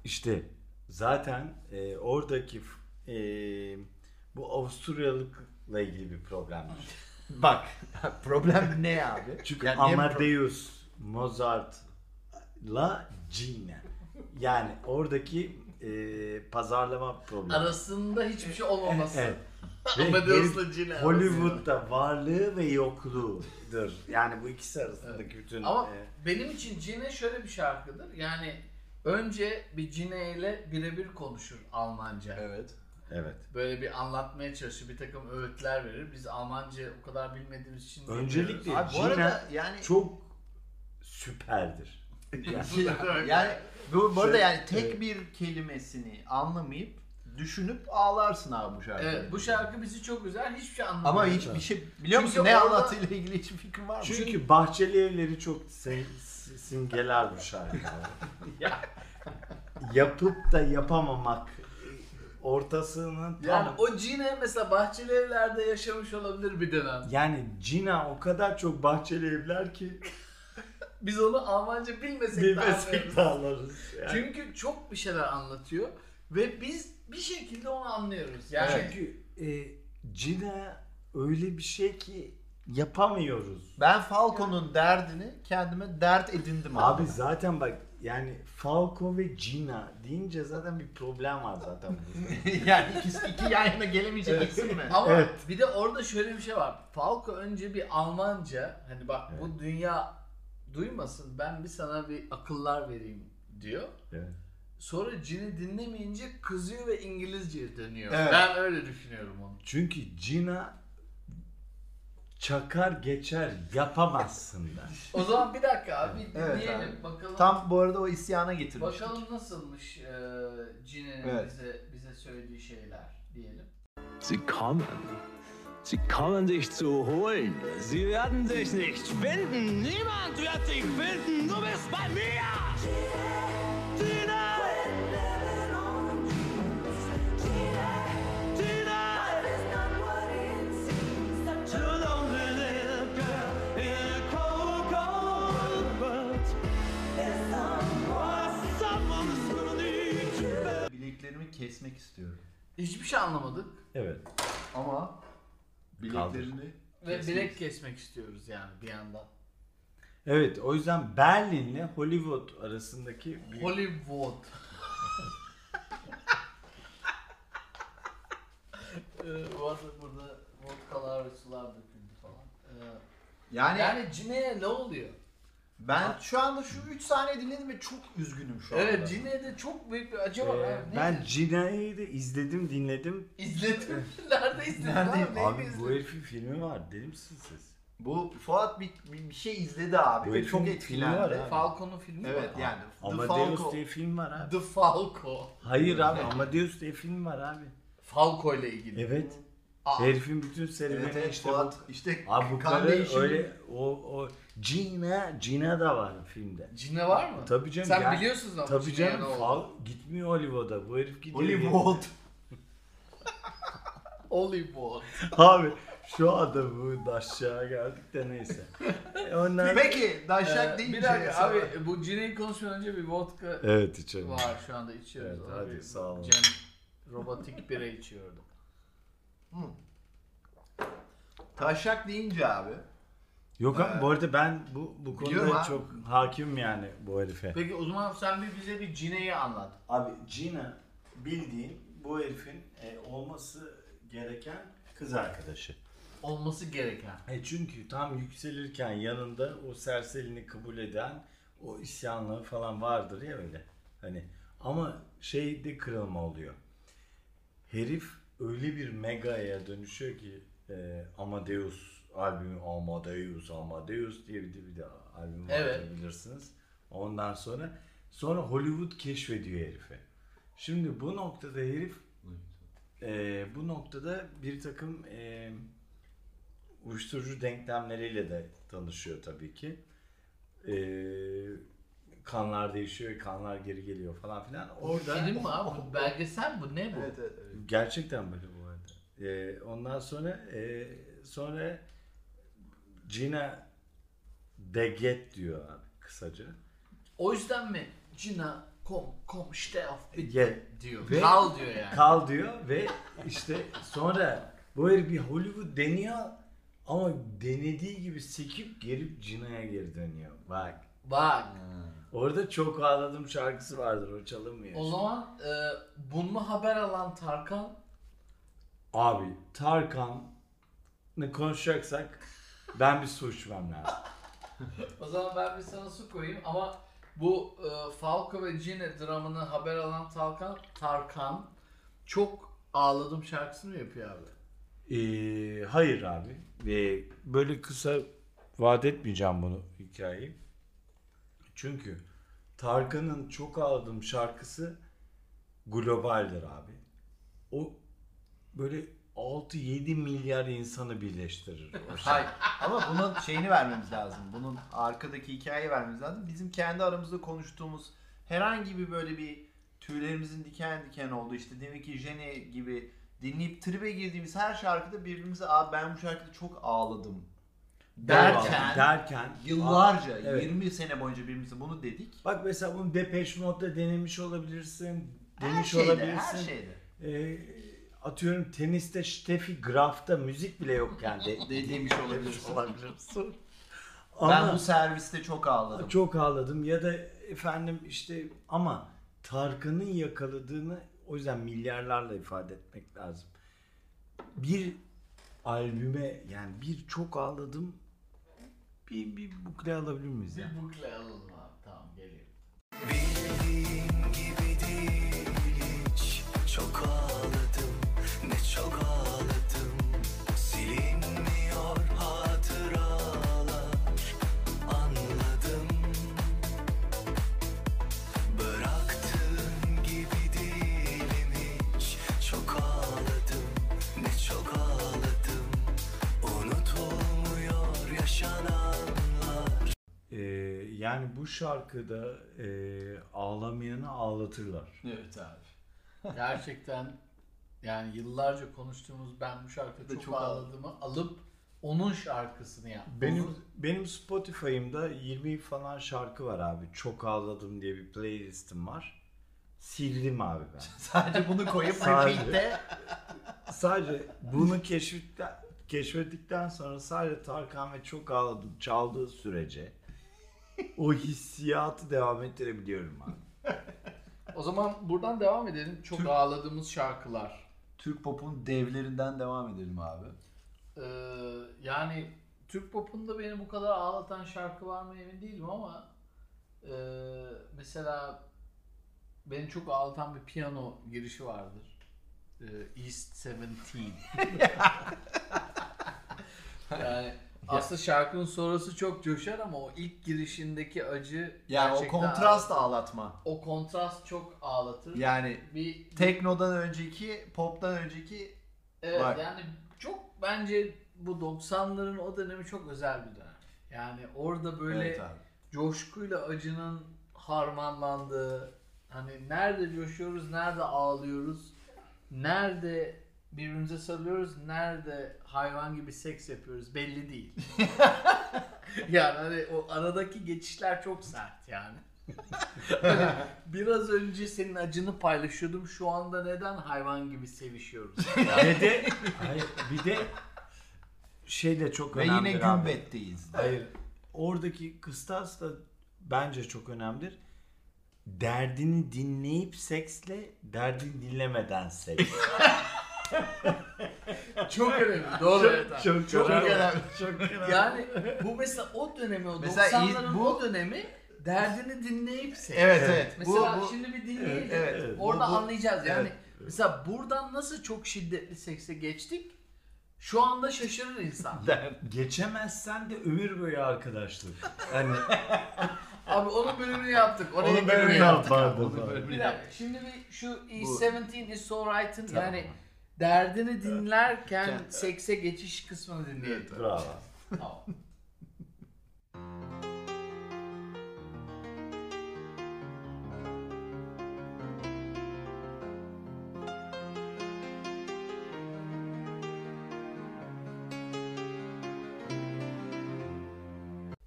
Speaker 1: işte zaten e, oradaki f- e, bu Avusturyalıkla ilgili bir problemmiş.
Speaker 4: bak [laughs] problem ne abi?
Speaker 1: Çünkü
Speaker 4: Yani niye bu problem-
Speaker 1: Amadeus Mozart'la Gene. Yani oradaki e, pazarlama problemi.
Speaker 5: Arasında hiçbir şey olmaması. [laughs]
Speaker 1: Evet. Ve
Speaker 5: Amadeus'la
Speaker 1: herif
Speaker 5: Gene. arasında.
Speaker 1: Hollywood'da varlığı ve yokluğudur. Yani bu ikisi arasındaki bütün
Speaker 5: Ama
Speaker 1: e,
Speaker 5: benim için Cine şöyle bir şarkıdır. Yani önce bir Cine ile birebir konuşur Almanca.
Speaker 4: Evet.
Speaker 1: evet.
Speaker 5: Böyle bir anlatmaya çalışır. Bir takım öğütler verir. Biz Almanca o kadar bilmediğimiz için
Speaker 1: Öncelikle-
Speaker 5: bilmiyoruz.
Speaker 4: Abi bu
Speaker 1: Gina
Speaker 4: arada yani
Speaker 1: çok süperdir.
Speaker 4: yani, yani bu, bu arada yani tek bir kelimesini anlamayıp düşünüp ağlarsın abi bu şarkı.
Speaker 5: Evet bu şarkı bizi çok güzel. Hiçbir şey anlamıyoruz.
Speaker 4: Ama hiçbir şey biliyor musun
Speaker 5: Çünkü
Speaker 4: ne
Speaker 5: orada-
Speaker 4: anlattığıyla ilgili hiçbir fikrim var mı?
Speaker 1: Çünkü bahçeli evleri çok sin- sin- simgeler bu
Speaker 5: [laughs]
Speaker 1: şarkı. Yapıp da yapamamak ortasının tam
Speaker 5: Yani o Cine mesela bahçeli evlerde yaşamış olabilir bir dönem.
Speaker 1: yani Cina o kadar çok bahçeli evler ki
Speaker 5: Biz onu Almanca bilmesek, de
Speaker 1: bilmesek
Speaker 5: anlıyoruz.
Speaker 1: de anlarız. Yani.
Speaker 5: Çünkü çok bir şeyler anlatıyor ve biz bir şekilde onu anlıyoruz. Yani
Speaker 1: Çünkü e, Cina öyle bir şey ki yapamıyoruz.
Speaker 4: Ben Falcon'un derdini kendime dert edindim abi. [laughs]
Speaker 1: Abi zaten bak yani Falco ve Gina deyince zaten bir problem var zaten.
Speaker 4: [laughs] yani ikisi iki yan yana gelemeyecek isim mi?
Speaker 5: ama
Speaker 1: Evet.
Speaker 5: bir de orada şöyle bir şey var. Falco önce bir Almanca hani bak bu dünya duymasın ben bir sana bir akıllar vereyim diyor.
Speaker 1: Evet.
Speaker 5: Sonra Cin'i dinlemeyince kızıyor ve İngilizceye dönüyor.
Speaker 4: Evet.
Speaker 5: Ben öyle düşünüyorum onu.
Speaker 1: Çünkü Cina çakar geçer yapamazsın da.
Speaker 5: O zaman bir dakika abi bir
Speaker 4: Evet
Speaker 5: dinleyelim
Speaker 4: abi.
Speaker 5: bakalım.
Speaker 4: Tam bu arada o isyana getirmiş.
Speaker 5: Bakalım nasılmış e, Cin'in
Speaker 4: Evet.
Speaker 5: bize bize söylediği şeyler diyelim.
Speaker 6: Sie kommen. Sie kommen dich zu holen. Sie werden dich nicht finden. Niemand wird dich finden. Du bist bei mir. Tina. Tina. You don't really live in a cold, cold world.
Speaker 4: bileklerimi kesmek istiyorum.
Speaker 5: Hiçbir şey anlamadık.
Speaker 1: Evet.
Speaker 4: Ama bileklerini
Speaker 5: Ve
Speaker 4: kesmek-
Speaker 5: bilek kesmek istiyoruz yani bir yandan.
Speaker 1: Evet o yüzden Berlin'le Hollywood arasındaki bir...
Speaker 5: Hollywood. ee, bu arada burada vodkalar ve sular döküldü falan. Ee,
Speaker 4: Yani,
Speaker 1: Hani-
Speaker 5: yani Cine'ye ne oluyor?
Speaker 4: ben şu anda şu 3 saniye dinledim ve çok üzgünüm şu anda.
Speaker 5: Evet Cine'de çok büyük bir acı var.
Speaker 1: Ee,
Speaker 5: abi.
Speaker 1: ben
Speaker 5: Neydi?
Speaker 1: Cinayet'i de izledim dinledim.
Speaker 5: izledim. [laughs] Nerede izledim? Nerede?
Speaker 1: Abi bu herifin filmi var deli misiniz siz?
Speaker 4: Bu Fuat bir, bir, bir şey izledi abi
Speaker 1: Bu
Speaker 4: ve
Speaker 1: herifin
Speaker 4: çok
Speaker 1: filmi var
Speaker 4: etkilendi.
Speaker 1: ya.
Speaker 5: Falcon'un filmi
Speaker 4: Evet
Speaker 5: var.
Speaker 4: yani The
Speaker 1: Amadeus
Speaker 4: Falco.
Speaker 1: diye film var abi.
Speaker 5: The Falco.
Speaker 1: Hayır abi Amadeus diye film var abi.
Speaker 5: Falco ile ilgili.
Speaker 1: Evet.
Speaker 5: Aa,
Speaker 1: Herifin bütün serüveni
Speaker 4: Evet, evet
Speaker 1: işte
Speaker 4: Fuat
Speaker 1: bu.
Speaker 4: işte
Speaker 1: Abi bu
Speaker 4: kan
Speaker 1: kadar
Speaker 4: değişimi-
Speaker 1: öyle o o Gina Gina da var filmde.
Speaker 5: Cine var mı?
Speaker 1: Tabii canım.
Speaker 5: Sen
Speaker 1: yani-
Speaker 5: biliyorsun ama
Speaker 1: Tabii
Speaker 5: Cine'ye
Speaker 1: canım.
Speaker 5: ne oldu.
Speaker 1: Fal, gitmiyor Hollywood'a. Bu herif gidiyor.
Speaker 4: Hollywood.
Speaker 5: Hollywood.
Speaker 1: [laughs] Abi şu anda bu aşağı geldik de neyse. E, Ondan...
Speaker 4: Peki daşak
Speaker 5: Ee,
Speaker 4: deyince.
Speaker 1: şey
Speaker 5: bir dakika abi bu Cine'yi konuşmadan önce bir vodka
Speaker 1: Evet içelim.
Speaker 5: var şu anda içiyoruz.
Speaker 1: Evet,
Speaker 5: abi.
Speaker 1: hadi, sağ olun.
Speaker 5: Cem robotik bira içiyordu.
Speaker 4: Taşak deyince abi.
Speaker 1: Yok abi bu arada ben bu, bu
Speaker 4: Biliyorum
Speaker 1: konuda
Speaker 4: abi.
Speaker 1: çok hakim yani bu herife.
Speaker 5: Peki o zaman sen bir bize bir Cine'yi anlat.
Speaker 1: Abi Gina bildiğin bu herifin e, olması gereken kız arkadaşı.
Speaker 5: Olması gereken.
Speaker 1: E çünkü tam yükselirken yanında o serserini kabul eden o isyanları falan vardır ya öyle. Hani ama şeyde kırılma oluyor. Herif öyle bir megaya dönüşüyor ki e, Amadeus albümü Amadeus Amadeus diye bir de, bir de albüm var
Speaker 5: Evet.
Speaker 1: bilirsiniz. Ondan sonra sonra Hollywood keşfediyor herifi. Şimdi bu noktada herif e, bu noktada bir takım e, uyuşturucu denklemleriyle de tanışıyor tabii ki. Ee, kanlar değişiyor, kanlar geri geliyor falan filan. Orada
Speaker 5: Film mi
Speaker 1: [laughs]
Speaker 5: abi? Bu Belgesel mi? bu ne bu?
Speaker 4: Evet evet. evet.
Speaker 1: gerçekten böyle bu arada. Ee, ondan sonra e, sonra Gina de get diyor abi kısaca.
Speaker 5: O yüzden mi Cina kom kom işte af bitti
Speaker 1: Ye-
Speaker 5: diyor.
Speaker 1: Ve-
Speaker 5: Kal diyor yani.
Speaker 1: Kal diyor ve işte sonra böyle bir Hollywood deniyor ama denediği gibi sekip gelip Gina'ya geri dönüyor. Bak
Speaker 5: Bak.
Speaker 1: Orada çok ağladım şarkısı vardır o çalınmıyor.
Speaker 5: O zaman e, bunu haber alan Tarkan
Speaker 1: Abi Tarkan'ı konuşacaksak ben bir su içmem lazım.
Speaker 5: O zaman ben bir sana su koyayım ama bu e, Falco ve Gene dramını haber alan Tarkan, Tarkan çok ağladım şarkısını yapıyor abi.
Speaker 1: Ee, hayır abi. Ee, böyle kısa vaat etmeyeceğim bunu hikayeyi. Çünkü Tarkan'ın çok aldığım şarkısı globaldir abi. O böyle 6-7 milyar insanı birleştirir. o şarkı.
Speaker 4: Hayır. Ama bunun şeyini vermemiz lazım. Bunun arkadaki hikayeyi vermemiz lazım. Bizim kendi aramızda konuştuğumuz herhangi bir böyle bir tüylerimizin diken diken oldu. İşte demek ki Jenny gibi dinleyip tribe girdiğimiz her şarkıda birbirimize Aa, ben bu şarkıda çok ağladım. Derken,
Speaker 1: derken
Speaker 4: yıllarca,
Speaker 1: Evet.
Speaker 4: 20 sene boyunca birbirimize bunu dedik.
Speaker 1: Bak mesela bunu Depeche Mode'da denemiş olabilirsin.
Speaker 4: Her
Speaker 1: Denemiş
Speaker 4: şeyde,
Speaker 1: olabilirsin.
Speaker 4: her şeyde.
Speaker 1: Ee, atıyorum teniste Steffi Graf'ta müzik bile yok yani. De-
Speaker 4: [laughs] De- demiş olabilirsin.
Speaker 1: olabilirsin.
Speaker 4: Ben
Speaker 1: Ama
Speaker 4: bu serviste çok ağladım.
Speaker 1: çok ağladım ya da efendim işte ama Tarkan'ın yakaladığını o yüzden milyarlarla ifade etmek lazım. Bir albüme yani bir çok ağladım bir, bir bukle alabilir miyiz? ya?
Speaker 5: Bir bukle alalım abi tamam geliyor.
Speaker 2: Bildiğin gibi değil hiç Çok ağladım ne çok ağladım Silinmiyor hatıralar Anladım Bıraktığın gibi değilim hiç Çok ağladım ne çok ağladım Unutulmuyor yaşananlar
Speaker 1: Ee, yani bu şarkıda e, ağlamayanı ağlatırlar.
Speaker 4: Evet abi.
Speaker 5: Gerçekten yani yıllarca konuştuğumuz ben bu şarkıda çok,
Speaker 4: çok
Speaker 5: ağladığımı alıp onun şarkısını yaptım.
Speaker 1: Benim benim Spotify'ımda 20 falan şarkı var abi. Çok ağladım diye bir playlistim var. Sildim abi ben.
Speaker 4: Sadece bunu koyup
Speaker 1: Sadece.
Speaker 4: repeat'te
Speaker 1: sadece bunu keşfettikten, keşfettikten sonra sadece Tarkan ve çok ağladı, çaldığı sürece o hissiyatı devam ettirebiliyorum abi.
Speaker 5: O zaman buradan devam edelim. Çok
Speaker 4: Türk-
Speaker 5: ağladığımız şarkılar.
Speaker 4: Türk pop'un devlerinden devam edelim abi.
Speaker 5: Ee, yani Türk popunda beni bu kadar ağlatan şarkı var mı emin değilim ama e, mesela beni çok ağlatan bir piyano girişi vardır. Ee, East
Speaker 4: [laughs]
Speaker 5: 17. yani aslında şarkının sonrası çok coşar ama o ilk girişindeki acı
Speaker 4: Yani
Speaker 5: gerçekten-
Speaker 4: o kontrast ağlatma.
Speaker 5: o kontrast çok ağlatır.
Speaker 4: Yani
Speaker 5: bir
Speaker 4: teknodan önceki, pop'tan önceki
Speaker 5: Evet
Speaker 4: Var.
Speaker 5: yani çok bence bu 90'ların o dönemi çok özel bir dönem. Yani orada böyle
Speaker 4: Evet abi.
Speaker 5: coşkuyla acının harmanlandığı, hani nerede coşuyoruz, nerede ağlıyoruz, nerede birbirimize sarılıyoruz, nerede hayvan gibi seks yapıyoruz
Speaker 4: [laughs]
Speaker 5: belli değil. yani hani o aradaki geçişler çok sert
Speaker 4: [laughs]
Speaker 5: yani. Hani biraz önce senin acını paylaşıyordum. Şu anda neden hayvan gibi sevişiyoruz?
Speaker 1: Ve de hayır, bir de şey de çok
Speaker 4: Ve
Speaker 1: önemli.
Speaker 4: yine gümbetteyiz.
Speaker 1: Hayır. Oradaki kıstas da bence çok önemlidir. Derdini dinleyip seksle, derdini dinlemeden seks.
Speaker 5: Çok önemli. Doğru. evet abi.
Speaker 1: [laughs] çok
Speaker 4: Çok
Speaker 1: önemli.
Speaker 4: önemli.
Speaker 5: Yani bu mesela o dönemi, o
Speaker 4: Mesela iyi-
Speaker 5: 90'ların
Speaker 4: bu-
Speaker 5: o dönemi derdini dinleyip seç.
Speaker 4: Evet evet.
Speaker 5: Mesela
Speaker 4: bu, bu,
Speaker 5: şimdi bir dinleyelim.
Speaker 4: Evet, evet.
Speaker 5: Orada
Speaker 4: Bu- bu-
Speaker 5: anlayacağız yani.
Speaker 1: Evet,
Speaker 5: Mesela buradan nasıl çok şiddetli sekse geçtik? Şu anda şaşırır
Speaker 4: [laughs]
Speaker 5: insan.
Speaker 1: [laughs] Geçemezsen de ömür boyu arkadaşlık. Yani
Speaker 5: Abi onun bölümünü yaptık. Oraya
Speaker 1: onu böyle
Speaker 5: geliyor.
Speaker 1: yapardım.
Speaker 5: Bir dakika. Şimdi bir şu
Speaker 4: Bu-
Speaker 5: E17 is alright'ın yani derdini dinlerken sekse geçiş kısmını dinleyelim.
Speaker 1: Bravo.
Speaker 5: Tamam.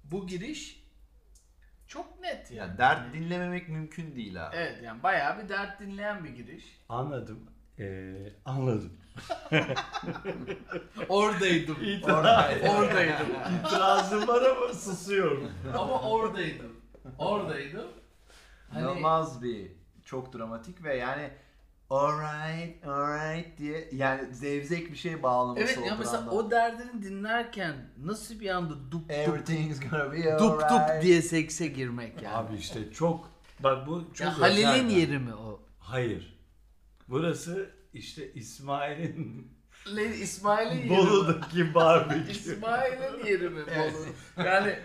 Speaker 5: Bu giriş çok net yani.
Speaker 4: Ya dert dinlememek mümkün değil abi.
Speaker 5: Evet yani bayağı bir dert dinleyen bir giriş.
Speaker 1: Anladım. Ee, anladım.
Speaker 5: Oradaydım.
Speaker 4: Orada-
Speaker 5: oradaydım.
Speaker 1: İtirazım var ama susuyorum.
Speaker 5: Ama oradaydım. Oradaydım. Hani
Speaker 4: İnanılmaz bir çok dramatik ve yani alright alright diye yani zevzek bir şey bağlaması
Speaker 5: Evet ya
Speaker 4: oturandan.
Speaker 5: mesela o derdini dinlerken nasıl bir anda dup dup
Speaker 4: Everything's gonna be alright.
Speaker 5: dup dup diye sekse girmek yani.
Speaker 1: Abi işte çok bak bu çok
Speaker 5: ya
Speaker 1: özel
Speaker 5: Halil'in
Speaker 1: bir-
Speaker 5: yeri mi o?
Speaker 1: Hayır. Burası işte [laughs] İsmail'in
Speaker 5: İsmail'in yeri mi?
Speaker 1: Bolu'daki barbekü.
Speaker 5: İsmail'in yeri mi Bolu? Yani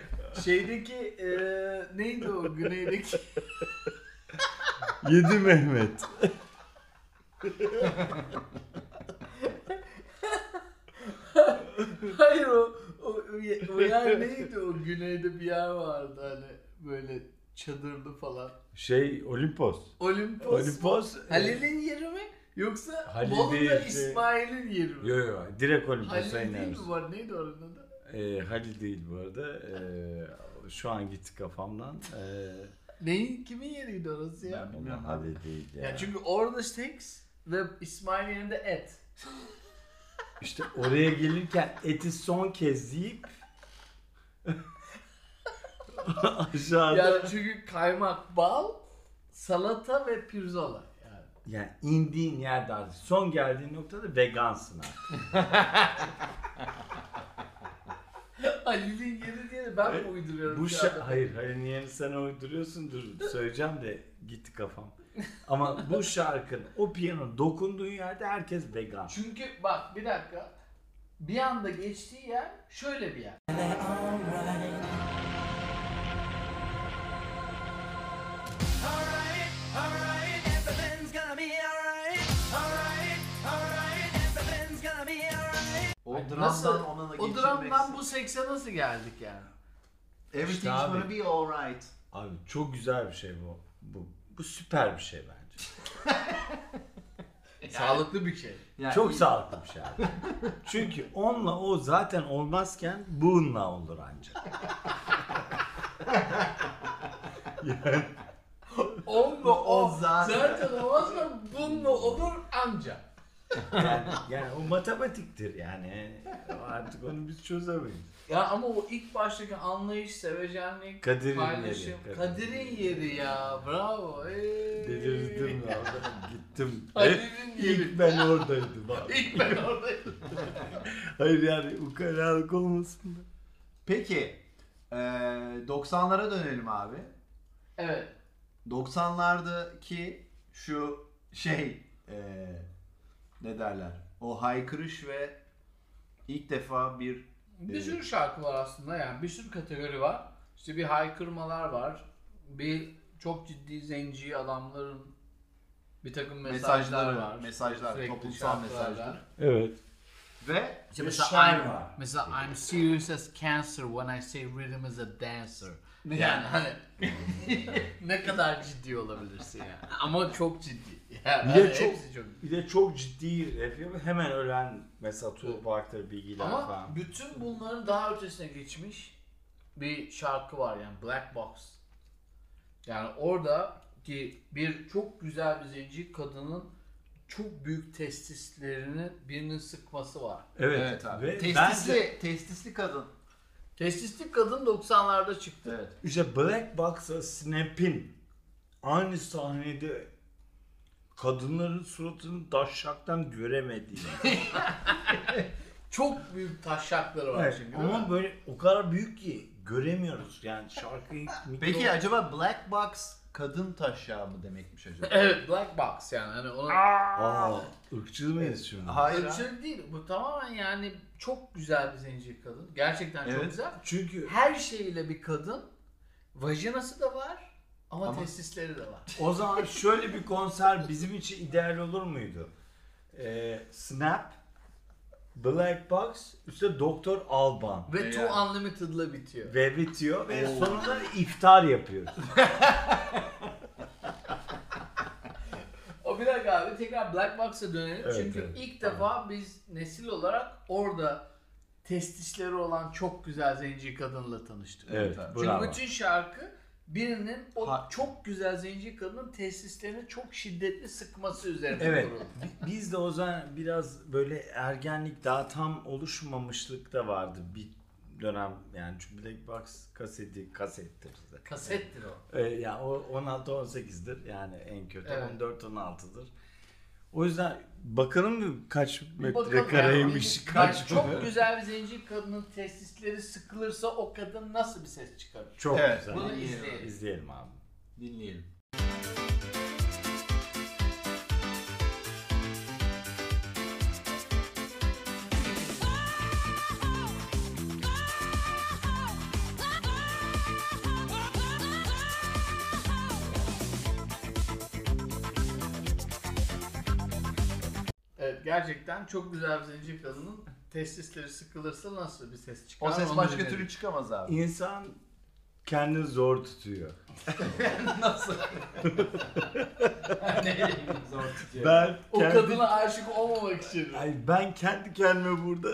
Speaker 5: şeydeki eee neydi o güneydeki? [laughs]
Speaker 1: Yedi Mehmet.
Speaker 5: Hayır o, o, o yer neydi o güneyde bir yer vardı hani böyle çadırlı falan.
Speaker 1: Şey Olimpos.
Speaker 5: Olimpos. mu?
Speaker 1: Olimpos. e,
Speaker 5: Halil'in yeri mi? Yoksa
Speaker 1: Halil değil,
Speaker 5: Bolu'da
Speaker 1: şey-
Speaker 5: İsmail'in yeri mi?
Speaker 1: Yo yo direkt
Speaker 5: Halil
Speaker 1: Olimpos'a
Speaker 5: değil
Speaker 1: ineriz.
Speaker 5: mi var? Neydi oranın adı?
Speaker 1: Ee, Halil değil bu arada. Ee, şu an gitti kafamdan. Ee,
Speaker 5: Neyin kimin yeriydi orası ya?
Speaker 4: Ben bilmiyorum abi.
Speaker 1: Halil değil ya.
Speaker 5: Ya çünkü orada seks ve İsmail'in yerinde et.
Speaker 1: İşte oraya gelirken eti son kez yiyip [laughs] aşağıda
Speaker 5: Yani çünkü kaymak, bal, salata ve pirzola. Yani.
Speaker 1: yani indiğin yerde artık son geldiğin noktada vegansın artık.
Speaker 5: Halil'in yeri diye ben mi uyduruyorum?
Speaker 1: Bu
Speaker 5: şu
Speaker 1: şa-
Speaker 5: anda?
Speaker 1: hayır hayır niye sen uyduruyorsundur söyleyeceğim de gitti kafam. Ama bu şarkının o piyano dokunduğu yerde herkes vegan.
Speaker 5: Çünkü bak bir dakika. Bir anda geçtiği yer şöyle bir yer.
Speaker 4: O dramdan
Speaker 5: Nasıl?
Speaker 4: ona da
Speaker 5: O
Speaker 4: geçirmek.
Speaker 5: dramdan bu sekse nasıl geldik yani?
Speaker 4: Everything's
Speaker 1: İşte abi.
Speaker 4: gonna be alright.
Speaker 1: Abi çok güzel bir şey bu. Bu, bu süper bir şey bence.
Speaker 5: Sağlıklı bir şey.
Speaker 4: Yani
Speaker 1: Çok sağlıklı bir şey abi. Çünkü onunla o zaten olmazken bununla olur ancak.
Speaker 5: on
Speaker 1: O
Speaker 5: mu o
Speaker 1: zaten.
Speaker 5: zaten. olmaz mı? Bun mu olur anca.
Speaker 1: Yani, yani o matematiktir yani. Artık onu biz çözemeyiz.
Speaker 5: Ya ama o ilk baştaki anlayış, sevecenlik,
Speaker 1: Kadir'in
Speaker 5: paylaşım.
Speaker 1: yeri, Kadir.
Speaker 5: Kadir'in yeri ya. Bravo. Ey.
Speaker 1: Delirdim ya. ben Gittim.
Speaker 5: Kadir'in yeri.
Speaker 1: İlk ben oradaydım abi.
Speaker 5: [laughs] İlk ben oradayım.
Speaker 1: Hayır yani ukalalık olmasın da.
Speaker 4: Peki eee, 90'lara dönelim abi.
Speaker 5: Evet.
Speaker 4: 90'lardaki şu şey eee, ne derler? O haykırış ve ilk defa bir
Speaker 5: Bir sürü şarkı var aslında yani. Bir sürü kategori var. İşte bir haykırmalar var. Bir çok ciddi zenci adamların bir takım mesajlar
Speaker 4: Mesajları,
Speaker 5: var.
Speaker 4: mesajlar,
Speaker 5: Sürekli
Speaker 4: toplumsal
Speaker 5: şarkılarla.
Speaker 4: mesajlar.
Speaker 1: Evet.
Speaker 4: ve
Speaker 5: İşte
Speaker 1: şair
Speaker 5: I'm-
Speaker 1: var.
Speaker 5: Mesela I'm serious as cancer when I say rhythm is a dancer. Yani hani [laughs] ne kadar ciddi olabilirsin ya. Ama çok ciddi. Yani
Speaker 1: Bir de
Speaker 5: hani
Speaker 1: çok-
Speaker 5: hepsi çok
Speaker 1: Bir de çok ciddi rap yapıyor. Hemen ölen mesela Tupac'tır, Biggie'ler
Speaker 5: Ama
Speaker 1: falan.
Speaker 5: bütün bunların daha ötesine geçmiş bir şarkı var yani Black Box. Yani orada ki bir çok güzel bir zenci kadının çok büyük testislerini birinin sıkması var.
Speaker 4: evet, abi.
Speaker 1: Ve
Speaker 4: testisli
Speaker 1: bence
Speaker 4: testisli kadın.
Speaker 5: Testisli kadın 90'larda çıktı.
Speaker 4: Evet.
Speaker 1: işte Black Box'a Snap'in aynı sahnede kadınların suratını taşaktan göremediği.
Speaker 5: Çok büyük taşakları var
Speaker 1: Evet,
Speaker 5: çünkü. değil mi?
Speaker 1: ama böyle o kadar büyük ki göremiyoruz yani şarkıyı.
Speaker 4: Peki
Speaker 1: mikro-
Speaker 4: acaba Black Box kadın taşağı mı demekmiş acaba?
Speaker 5: Evet Black Box yani hani onun
Speaker 1: Aa, ırkçı mıyız şimdi?
Speaker 4: Hayır. ha.
Speaker 5: ölçülü değil. Bu tamamen yani çok güzel bir zenci kadın. Gerçekten çok
Speaker 4: Evet.
Speaker 5: güzel.
Speaker 1: Çünkü
Speaker 5: her şeyiyle bir kadın. Vajinası da var ama,
Speaker 4: Ama-
Speaker 5: testisleri de var.
Speaker 1: o zaman şöyle bir konser bizim için ideal olur muydu? Ee, Snap, Black Box, üstte Doktor Alban.
Speaker 5: Ve
Speaker 4: E
Speaker 5: Two
Speaker 4: yani.
Speaker 5: Unlimited'la bitiyor.
Speaker 1: Ve bitiyor ve sonunda iftar
Speaker 4: [laughs]
Speaker 1: yapıyoruz.
Speaker 5: O bir dakika abi tekrar Black Box'a dönelim.
Speaker 1: Evet,
Speaker 5: Çünkü
Speaker 1: evet.
Speaker 5: ilk defa biz nesil olarak orada testisleri olan çok güzel zenci kadınla tanıştık.
Speaker 1: Evet,
Speaker 5: Çünkü
Speaker 1: bravo.
Speaker 5: bütün şarkı birinin o
Speaker 4: Ha-
Speaker 5: çok güzel zenci kadının testislerini çok şiddetli sıkması üzerine
Speaker 1: Evet.
Speaker 5: kuruldu.
Speaker 1: bi- Biz de o zaman biraz böyle ergenlik daha tam oluşmamışlık da vardı bir dönem yani çünkü Black Box kaseti kasettir.
Speaker 5: Kasettir o.
Speaker 1: Ee, yani o 16-18'dir yani en kötü
Speaker 5: Evet.
Speaker 1: 14-16'dır. O yüzden bakalım mı kaç
Speaker 5: Bakalım
Speaker 1: metrekareymiş
Speaker 5: yani.
Speaker 1: kaç
Speaker 5: Yani çok güzel bir zenci kadının testisleri sıkılırsa o kadın nasıl bir ses çıkarır?
Speaker 1: Çok
Speaker 4: Evet,
Speaker 1: güzel.
Speaker 5: Bunu
Speaker 4: iyi.
Speaker 5: izleyelim.
Speaker 1: İzleyelim abi.
Speaker 4: Dinleyelim.
Speaker 5: Evet gerçekten çok güzel bir zenci kadının testisleri sıkılırsa nasıl bir ses çıkar?
Speaker 4: O ses
Speaker 5: onu
Speaker 4: başka
Speaker 5: dinleyelim.
Speaker 4: türlü çıkamaz abi.
Speaker 1: İnsan kendini zor tutuyor.
Speaker 5: nasıl?
Speaker 1: Ben
Speaker 5: O
Speaker 1: kendi-
Speaker 5: kadına aşık olmamak için.
Speaker 1: Ay ben kendi kendime burada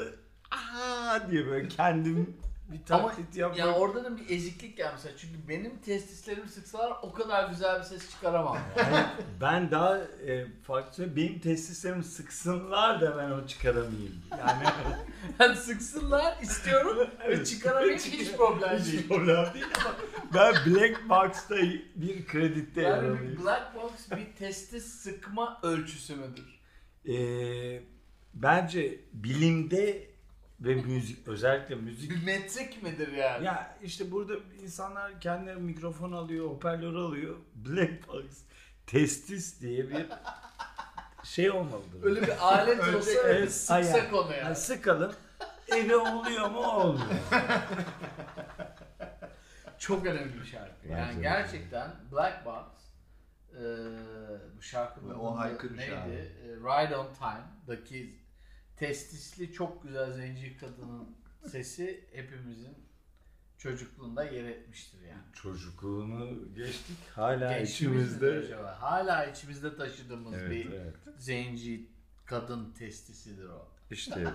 Speaker 1: aa diye böyle
Speaker 5: [laughs]
Speaker 1: kendim bir taklit yapmak.
Speaker 5: Ya orada da bir eziklik ya mesela. Çünkü benim testislerimi sıksalar o kadar güzel bir ses çıkaramam. yani.
Speaker 1: Ben daha e, farklı söyleyeyim. Benim testislerimi sıksınlar da ben onu çıkaramayayım. Yani
Speaker 5: [laughs] Yani
Speaker 1: [laughs]
Speaker 5: sıksınlar istiyorum ve çıkaramayayım hiç problem değil.
Speaker 1: hiç problem değil ama ben Black Box'ta bir kredite yer
Speaker 5: Yani bir
Speaker 1: alayım.
Speaker 5: black box bir testis sıkma ölçüsü müdür?
Speaker 1: E, bence bilimde ve müzik özellikle müzik
Speaker 5: Bir metrik midir yani?
Speaker 1: Ya işte burada insanlar kendine mikrofon alıyor, hoparlör alıyor. Black box, testis diye bir şey olmalıdır.
Speaker 5: Öyle
Speaker 1: [laughs]
Speaker 5: bir alet olsa
Speaker 1: Ölçek-
Speaker 5: öyle
Speaker 1: Evet,
Speaker 5: sıksak
Speaker 1: ayağım.
Speaker 5: onu
Speaker 1: Yani
Speaker 5: yani.
Speaker 1: sıkalım. Eve oluyor mu olmuyor.
Speaker 5: Çok önemli bir şarkı. Yani
Speaker 1: Bence de.
Speaker 5: gerçekten Black Box eee, bu şarkının
Speaker 4: Ve o
Speaker 5: adı
Speaker 4: haykırış
Speaker 5: neydi?
Speaker 4: abi.
Speaker 5: Eee, Ride on Time'daki testisli çok güzel zenci kadının sesi hepimizin çocukluğunda yer etmiştir yani.
Speaker 1: Çocukluğunu geçtik. Hala
Speaker 5: Geçmiş midir
Speaker 1: içimizde.
Speaker 5: acaba? Hala içimizde taşıdığımız
Speaker 1: Evet,
Speaker 5: bir
Speaker 1: evet.
Speaker 5: zenci kadın testisidir o.
Speaker 1: İşte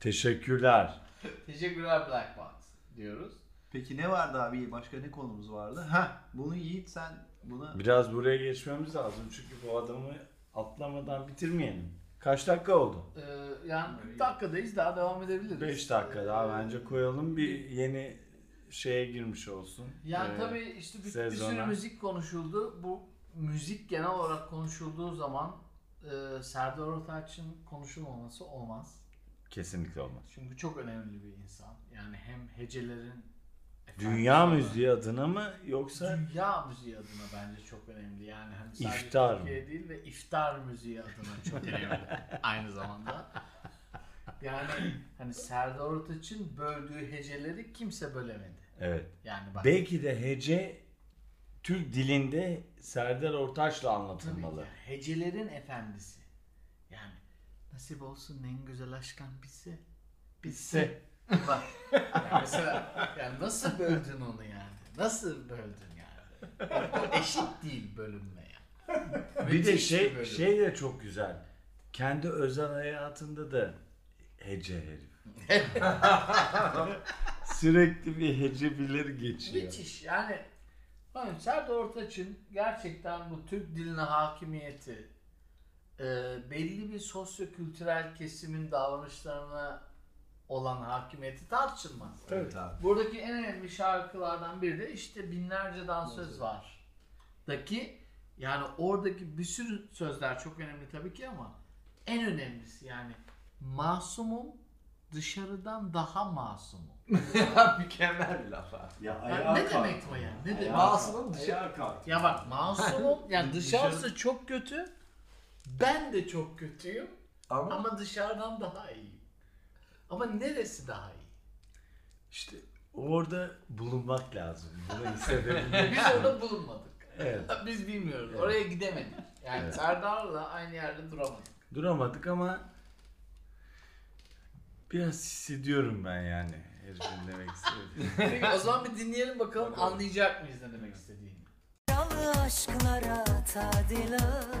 Speaker 1: teşekkürler.
Speaker 5: Teşekkürler Black Box diyoruz.
Speaker 4: Peki ne vardı abi? Başka ne konumuz vardı? Ha, bunu Yiğit sen Buna
Speaker 1: Biraz buraya geçmemiz lazım çünkü bu adamı atlamadan bitirmeyelim. Kaç dakika oldu?
Speaker 5: Ee, yani 40 dakikadayız daha devam edebiliriz.
Speaker 1: 5 dakika daha
Speaker 5: Ee,
Speaker 1: bence koyalım bir yeni şeye girmiş olsun.
Speaker 5: Yani
Speaker 1: Ee,
Speaker 5: tabii işte bir, bir sürü
Speaker 1: sezona.
Speaker 5: müzik konuşuldu. Bu müzik genel olarak konuşulduğu zaman e, Serdar Ortaç'ın konuşulmaması olmaz.
Speaker 1: kesinlikle olmaz.
Speaker 5: Çünkü çok önemli bir insan. Yani hem hecelerin
Speaker 1: Dünya
Speaker 5: efendisi-
Speaker 1: müziği adına mı yoksa
Speaker 5: Dünya müziği adına bence çok önemli. Yani hani sadece
Speaker 1: İftar mı?
Speaker 5: Türkiye değil de iftar müziği adına çok
Speaker 1: [laughs]
Speaker 5: önemli aynı zamanda. Yani hani Serdar Ortaç'ın böldüğü heceleri kimse bölemedi.
Speaker 1: evet.
Speaker 5: Yani bak
Speaker 1: Belki de hece Türk dilinde Serdar Ortaç'la
Speaker 5: tabii
Speaker 1: anlatılmalı.
Speaker 5: ki hecelerin efendisi. Yani nasip olsun en güzel aşkan bitse. Bitse. bak yani mesela yani nasıl böldün onu yani? Nasıl böldün yani? Bak, bu eşit değil bölünme yani.
Speaker 1: Bir de
Speaker 5: Müthiş
Speaker 1: şey
Speaker 5: bir bölüm.
Speaker 1: şey de çok güzel. Kendi özel hayatında da hece herif. Sürekli bir hece bilir geçiyor.
Speaker 5: Müthiş yani. Hani Serdar Ortaç'ın gerçekten bu Türk diline hakimiyeti e, belli bir sosyokültürel kesimin davranışlarına olan hakimiyeti tartışılmaz.
Speaker 4: evet abi.
Speaker 5: Buradaki en önemli şarkılardan biri de işte binlerce dansöz var. Daki yani oradaki bir sürü sözler çok önemli tabii ki ama en önemlisi yani masumum dışarıdan daha
Speaker 7: [laughs]
Speaker 5: masumum.
Speaker 7: Mükemmel bir laf abi.
Speaker 1: Ya
Speaker 5: Yani ne demek bu yani? Ne demek?
Speaker 7: Masumum dışarı kalk.
Speaker 5: Ya bak masumum.
Speaker 7: [laughs]
Speaker 5: Yani dışarısı çok kötü. Ben de çok kötüyüm.
Speaker 7: Ama-
Speaker 5: Ama, dışarıdan daha iyiyim. Ama neresi daha iyi?
Speaker 1: İşte orada bulunmak lazım. Bunu
Speaker 5: [laughs]
Speaker 7: [laughs]
Speaker 1: hissedebilmek.
Speaker 5: Biz orada bulunmadık.
Speaker 1: Evet.
Speaker 5: [laughs] Biz bilmiyoruz. Oraya gidemedik. Yani Serdar'la aynı yerde duramadık.
Speaker 1: Duramadık ama biraz hissediyorum ben yani herifin demek istediğini.
Speaker 5: [laughs] Peki, o zaman bir dinleyelim bakalım anlayacak mıyız ne demek istediğini.
Speaker 8: Kralı aşklara tadilat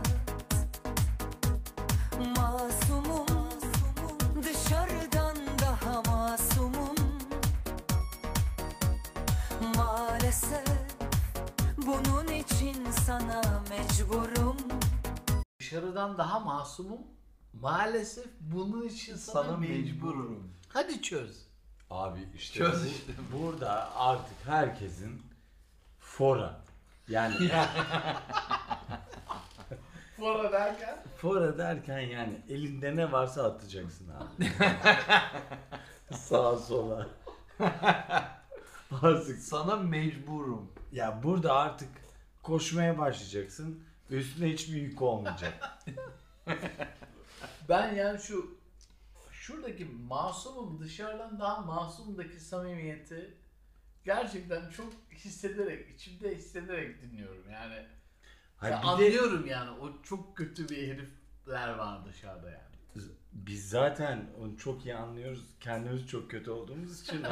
Speaker 8: Masumum Dışarıdan daha masumum Maalesef Bunun için sana mecburum
Speaker 5: Dışarıdan daha masumum. Maalesef bunun için sana,
Speaker 4: Sana
Speaker 5: mecburum.
Speaker 4: mecburum.
Speaker 5: Hadi çöz.
Speaker 1: Abi işte,
Speaker 4: Çöz
Speaker 1: bu-
Speaker 4: işte.
Speaker 1: burada artık herkesin fora. Yani
Speaker 5: Bu arada derken
Speaker 1: Fora derken yani elinde ne varsa atacaksın abi. Sağa sola. artık
Speaker 4: Sana mecburum.
Speaker 1: ya burada artık koşmaya başlayacaksın. Üstüne hiçbir yük olmayacak.
Speaker 5: Ben yani şu şuradaki masumum dışarıdan daha masumdaki samimiyeti gerçekten çok hissederek, içimde hissederek dinliyorum yani.
Speaker 1: Hayır,
Speaker 5: Ya
Speaker 1: bir de
Speaker 5: anlıyorum yani o çok kötü bir herifler var dışarıda yani.
Speaker 1: biz zaten onu çok iyi anlıyoruz. Kendimiz çok kötü olduğumuz için.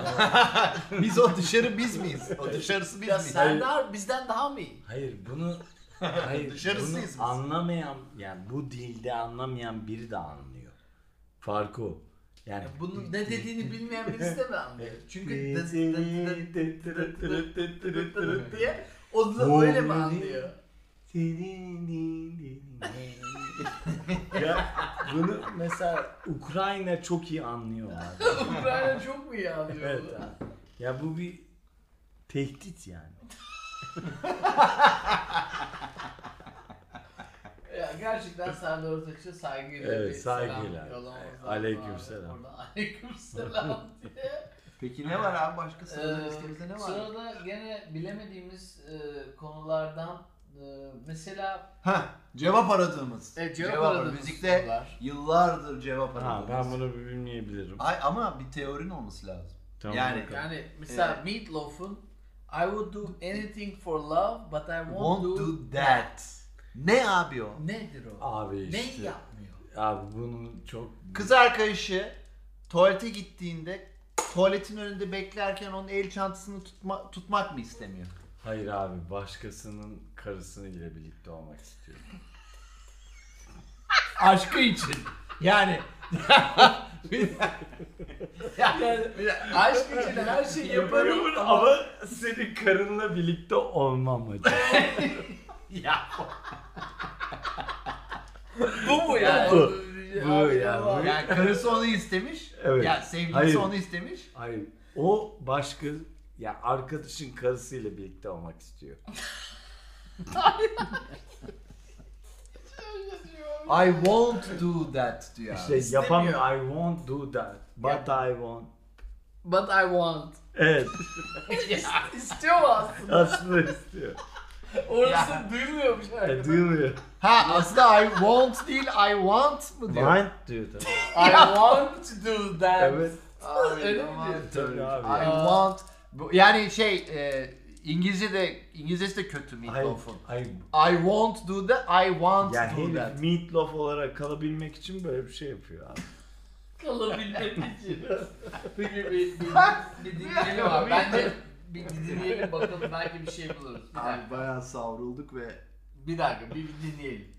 Speaker 4: Biz o dışarı biz miyiz? O dışarısı biz
Speaker 5: Ya
Speaker 4: miyiz?
Speaker 5: Serdar bizden daha mı iyi?
Speaker 1: hayır bunu hayır
Speaker 4: Dışarısıyız
Speaker 1: bunu
Speaker 4: biz.
Speaker 1: anlamayan yani bu dilde anlamayan biri de anlıyor. Farkı o. Yani
Speaker 5: Ya bunun ne dediğini bilmeyen birisi de mi anlıyor? Çünkü diye o da öyle mi anlıyor?
Speaker 1: [laughs] ya bunu mesela Ukrayna çok iyi anlıyor abi.
Speaker 5: Ukrayna çok mu iyi anlıyor?
Speaker 1: Evet
Speaker 5: bunu?
Speaker 1: abi. Ya bu bir tehdit yani.
Speaker 5: Ya gerçekten Serdar Ortaç'a saygıyla
Speaker 1: Evet,
Speaker 5: bir
Speaker 1: saygıyla.
Speaker 5: selam yollamamız
Speaker 1: Evet,
Speaker 5: lazım
Speaker 1: aleykümselam.
Speaker 5: abi. Oradan aleykümselam
Speaker 1: [laughs]
Speaker 5: diye.
Speaker 4: Peki ne var abi başka sırada
Speaker 5: Ee,
Speaker 4: listemizde ne var?
Speaker 5: sırada gene bilemediğimiz e, konulardan e, mesela
Speaker 4: Ha, cevap aradığımız.
Speaker 5: Evet, E, cevap aradığımız
Speaker 4: Müzikte
Speaker 5: sorular.
Speaker 4: yıllardır cevap
Speaker 1: Ha,
Speaker 4: aradığımız.
Speaker 1: ben bunu bir bilmeyebilirim.
Speaker 4: Ay, ama bir teorin olması lazım.
Speaker 1: Tamam,
Speaker 4: yani
Speaker 1: bakalım.
Speaker 5: yani mesela Meatloaf'un I would do anything for love but I won't,
Speaker 4: won't
Speaker 5: do,
Speaker 4: do that. Ne abi o?
Speaker 5: nedir o?
Speaker 1: Abi
Speaker 5: ne
Speaker 1: işte.
Speaker 5: yapmıyor?
Speaker 1: Abi bunu çok
Speaker 4: Kız arkadaşı tuvalete gittiğinde tuvaletin önünde beklerken onun el çantasını tutma, tutmak mı istemiyor? [laughs]
Speaker 1: hayır abi başkasının karısıyla birlikte olmak istiyorum.
Speaker 4: Aşkı için.
Speaker 5: [laughs]
Speaker 4: Yani
Speaker 5: Bir de Aşk için her şeyi yaparım
Speaker 1: Yaparım ama senin karınla birlikte olmam hocam.
Speaker 5: ya. bu mu ya?
Speaker 1: Bu, bu ya, bu.
Speaker 4: Yani karısı onu istemiş.
Speaker 1: Evet.
Speaker 4: Ya sevgilisi
Speaker 1: Hayır.
Speaker 4: onu istemiş.
Speaker 1: Hayır. O başka ya arkadaşın karısıyla birlikte olmak istiyor.
Speaker 4: I won't do that diyor.
Speaker 1: İşte yapamıyor. Şey, I won't do that. But I won't.
Speaker 5: But I [laughs] want.
Speaker 1: Evet.
Speaker 5: İstiyor mu aslında?
Speaker 1: Aslında istiyor. [laughs]
Speaker 5: Orası duymuyormuş herhalde.
Speaker 1: Yani duymuyor.
Speaker 4: Ha aslında I won't değil I want mı diyor?
Speaker 1: Mind diyor tabii.
Speaker 5: I want to do that.
Speaker 1: Evet.
Speaker 5: Aa, Öyle mi
Speaker 4: Aman
Speaker 5: diyor?
Speaker 1: Tabii abi.
Speaker 4: I want. Bu- Yani şey e, İngilizce de İngilizcesi de kötü Meatloaf'un.
Speaker 1: Hayır.
Speaker 4: I won't do that, I want
Speaker 1: Yani
Speaker 4: to do that.
Speaker 1: herif meatloaf olarak kalabilmek için böyle bir şey yapıyor abi.
Speaker 5: Kalabilmek için. Peki [laughs] bir, bir, [laughs] bir dinleyelim abi. Bence bir dinleyelim bakalım belki bir şey buluruz. Bir dakika.
Speaker 4: Abi bayağı savrulduk ve
Speaker 5: Bir dakika bir, bir dinleyelim.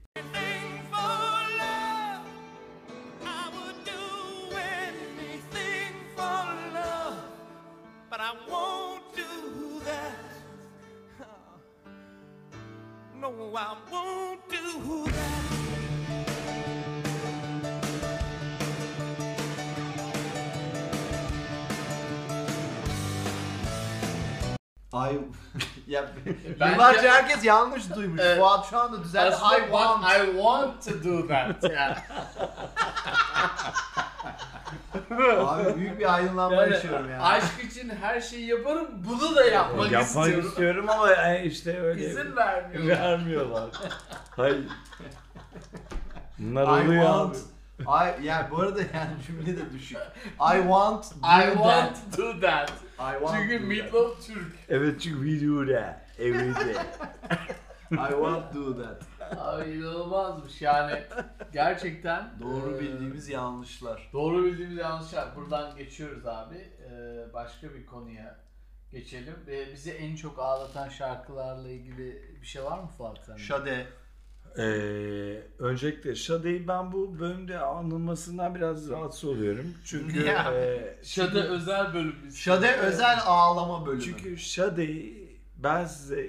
Speaker 4: I [laughs] ya
Speaker 5: Bence-
Speaker 4: yıllarca herkes yanlış duymuş.
Speaker 5: Evet.
Speaker 4: Fuat şu anda düzeldi.
Speaker 5: Aslında
Speaker 4: I want.
Speaker 5: what I want to do that. Yani.
Speaker 4: Abi büyük bir aydınlanma
Speaker 5: Yani
Speaker 4: yaşıyorum ya.
Speaker 5: Aşk için her şeyi yaparım, bunu da yapmak
Speaker 1: Yapmak
Speaker 5: istiyorum.
Speaker 1: istiyorum ama e, işte öyle.
Speaker 5: İzin vermiyor.
Speaker 1: vermiyorlar. Hayır. Bunlar
Speaker 4: I
Speaker 1: oluyor
Speaker 4: want.
Speaker 1: abi.
Speaker 4: I, yani bu arada yani cümle de düşük. I want do
Speaker 5: I
Speaker 4: that.
Speaker 5: want to do that.
Speaker 4: I want
Speaker 5: Çünkü
Speaker 4: do that.
Speaker 5: Meatloaf Türk.
Speaker 1: Evet çünkü we do that every day.
Speaker 4: I want do that.
Speaker 5: Abi inanılmazmış yani. Gerçekten.
Speaker 4: Doğru
Speaker 5: e,
Speaker 4: bildiğimiz yanlışlar.
Speaker 5: Doğru bildiğimiz yanlışlar. Buradan geçiyoruz abi. Ee, başka bir konuya geçelim. Ee, bizi en çok ağlatan şarkılarla ilgili bir şey var mı Fuat sende?
Speaker 4: Şade.
Speaker 1: Ee, öncelikle Şade'yi ben bu bölümde anılmasından biraz rahatsız oluyorum. Çünkü
Speaker 4: Niye abi?
Speaker 1: e,
Speaker 5: Şade özel bölümümüz.
Speaker 4: Şade özel ağlama bölümü.
Speaker 1: çünkü Şade'yi ben size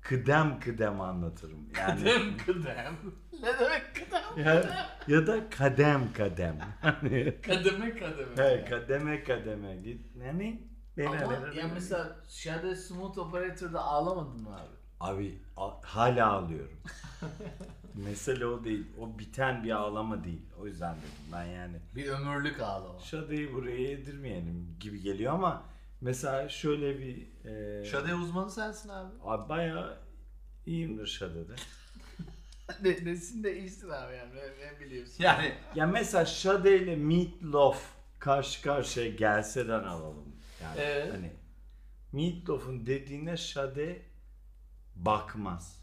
Speaker 1: kıdem kıdem anlatırım. Yani
Speaker 5: Kıdem kıdem. Ne demek kıdem?
Speaker 1: ya, ya da kadem kadem. Hani
Speaker 5: Kademe kademe.
Speaker 1: he, kademe kademe git. Yani
Speaker 5: Ama ya mesela Şade Smooth Operator'da ağlamadın mı abi?
Speaker 1: Abi a- hala
Speaker 5: [laughs]
Speaker 1: ağlıyorum. Mesele o değil. O biten bir ağlama değil. O yüzden dedim ben yani.
Speaker 5: Bir
Speaker 1: [laughs]
Speaker 5: ömürlük ağlama.
Speaker 1: Şadeyi buraya yedirmeyelim gibi geliyor ama mesela şöyle bir... E,
Speaker 4: Şade uzmanı sensin abi.
Speaker 1: Abi bayağı iyiyimdir Şade'de.
Speaker 5: Ne, nesinde iyisin abi yani ne, ne biliyorsun?
Speaker 4: Yani [laughs]
Speaker 1: ya mesela Şade ile Meatloaf karşı karşıya gelseden alalım. Yani
Speaker 5: Evet.
Speaker 1: hani Meatloaf'un dediğine Şade bakmaz.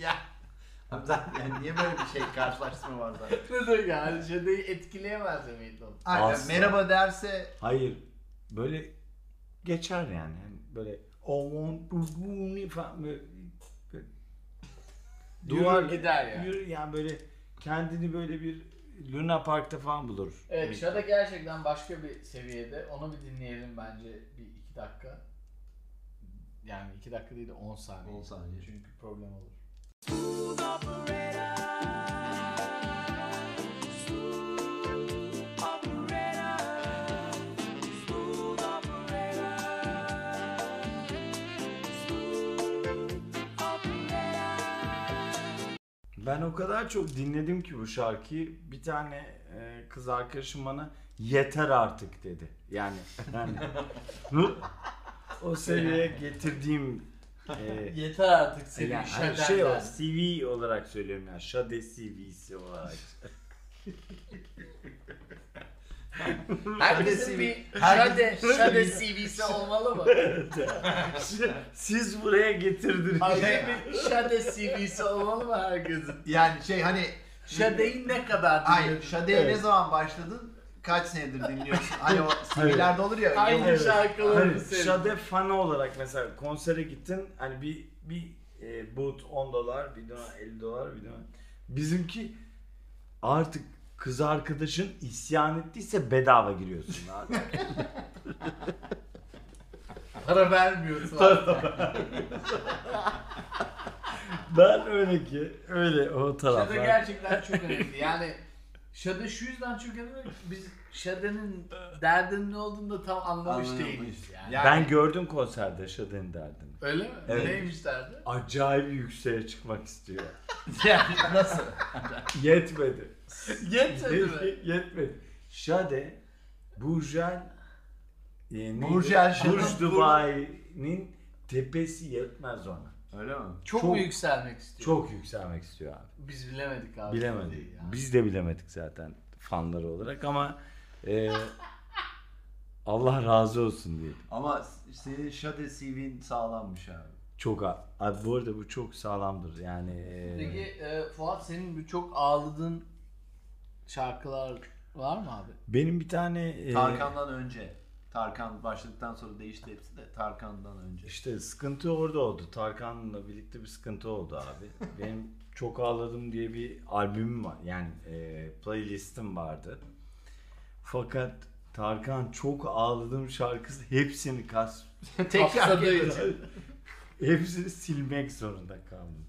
Speaker 4: ya. Abi zaten yani niye böyle bir şey karşılaştırma var zaten?
Speaker 5: [laughs] Ne demek hani yani Şade'yi etkileyemez miydi o?
Speaker 4: Aynen
Speaker 1: Asla.
Speaker 4: merhaba derse
Speaker 1: Hayır. Böyle geçer yani. Yani böyle o want to do me" falan böyle, böyle duvar
Speaker 5: gider yani.
Speaker 1: Yürür yani böyle kendini böyle bir Luna Park'ta falan bulur.
Speaker 5: Evet
Speaker 1: Bir-
Speaker 5: Şada gerçekten başka bir seviyede. Onu bir dinleyelim bence bir iki dakika. Yani iki dakika değil de 10 saniye.
Speaker 4: 10 saniye.
Speaker 5: Çünkü problem olur.
Speaker 1: Ben o kadar çok dinledim ki bu şarkıyı. Bir tane e, kız arkadaşım bana yeter artık dedi. Yani
Speaker 5: [laughs]
Speaker 1: yani bu- o seviyeye getirdiğim e,
Speaker 5: Yeter artık senin
Speaker 1: yani hani
Speaker 5: Şada'dan.
Speaker 1: şey o CV olarak söylüyorum yani Şade CV'si olarak.
Speaker 5: Herkesin bir [laughs] Şade,
Speaker 4: herkesin-
Speaker 5: Şade CV'si olmalı mı?
Speaker 1: [laughs] Siz buraya getirdiniz.
Speaker 5: Şade bir Şade CV'si olmalı mı herkesin?
Speaker 4: yani şey hani
Speaker 5: Şade'yi ne kadar
Speaker 4: Hayır,
Speaker 5: dinledin?
Speaker 4: Şade'ye
Speaker 1: Evet.
Speaker 4: ne zaman başladın? Kaç senedir dinliyorsun? Hani o CV'lerde olur ya.
Speaker 5: Aynı
Speaker 4: yıllık-
Speaker 5: şarkıları
Speaker 1: Hani
Speaker 5: seviyorum.
Speaker 1: Şade fanı olarak mesela konsere gittin hani bir bir e, boot 10 dolar, bir dolar 50 dolar, bir dolar. Bizimki artık kız arkadaşın isyan ettiyse bedava giriyorsun abi.
Speaker 5: Para vermiyorsun.
Speaker 1: Ben öyle ki öyle o
Speaker 5: Şade
Speaker 1: taraflar.
Speaker 5: gerçekten çok önemli. Yani Şade şu yüzden çok önemli. Biz Şade'nin derdinin ne olduğunu da tam anlamış
Speaker 7: Anlayamayız.
Speaker 5: değiliz. Yani.
Speaker 1: Ben gördüm konserde Şadın derdini.
Speaker 5: Öyle mi?
Speaker 1: Evet.
Speaker 5: Neymiş derdi?
Speaker 1: Acayip yükseğe çıkmak istiyor.
Speaker 4: Yani nasıl?
Speaker 1: Yetmedi.
Speaker 5: [laughs] Yetmedi mi?
Speaker 1: Yet- Yetmedi. Şade Burjel e,
Speaker 4: Burjel
Speaker 1: neydi? Burj
Speaker 4: Şahin.
Speaker 1: Dubai'nin tepesi yetmez ona.
Speaker 7: Öyle mi?
Speaker 5: Çok,
Speaker 1: Çok-
Speaker 5: mu yükselmek istiyor?
Speaker 1: Çok yükselmek istiyor abi.
Speaker 5: Biz bilemedik abi.
Speaker 1: Bilemedik.
Speaker 5: Yani.
Speaker 1: Biz de bilemedik zaten fanları olarak ama e, Allah razı olsun diyelim.
Speaker 7: Ama senin Shade CV'in sağlammış abi.
Speaker 1: Çok a- abi bu arada bu çok sağlamdır yani. e,
Speaker 5: Peki e, Fuat senin bir çok ağladığın şarkılar var mı abi?
Speaker 1: benim bir tane e,
Speaker 7: Tarkan'dan önce. Tarkan başladıktan sonra değişti hepsi de Tarkan'dan önce.
Speaker 1: işte sıkıntı orada oldu. Tarkan'la birlikte bir sıkıntı oldu abi. benim çok ağladım diye bir albümüm var. Yani e, playlistim vardı. Fakat Tarkan çok ağladım şarkısı hepsini kas
Speaker 5: Kapsadayız.
Speaker 1: hepsini silmek zorunda kaldım.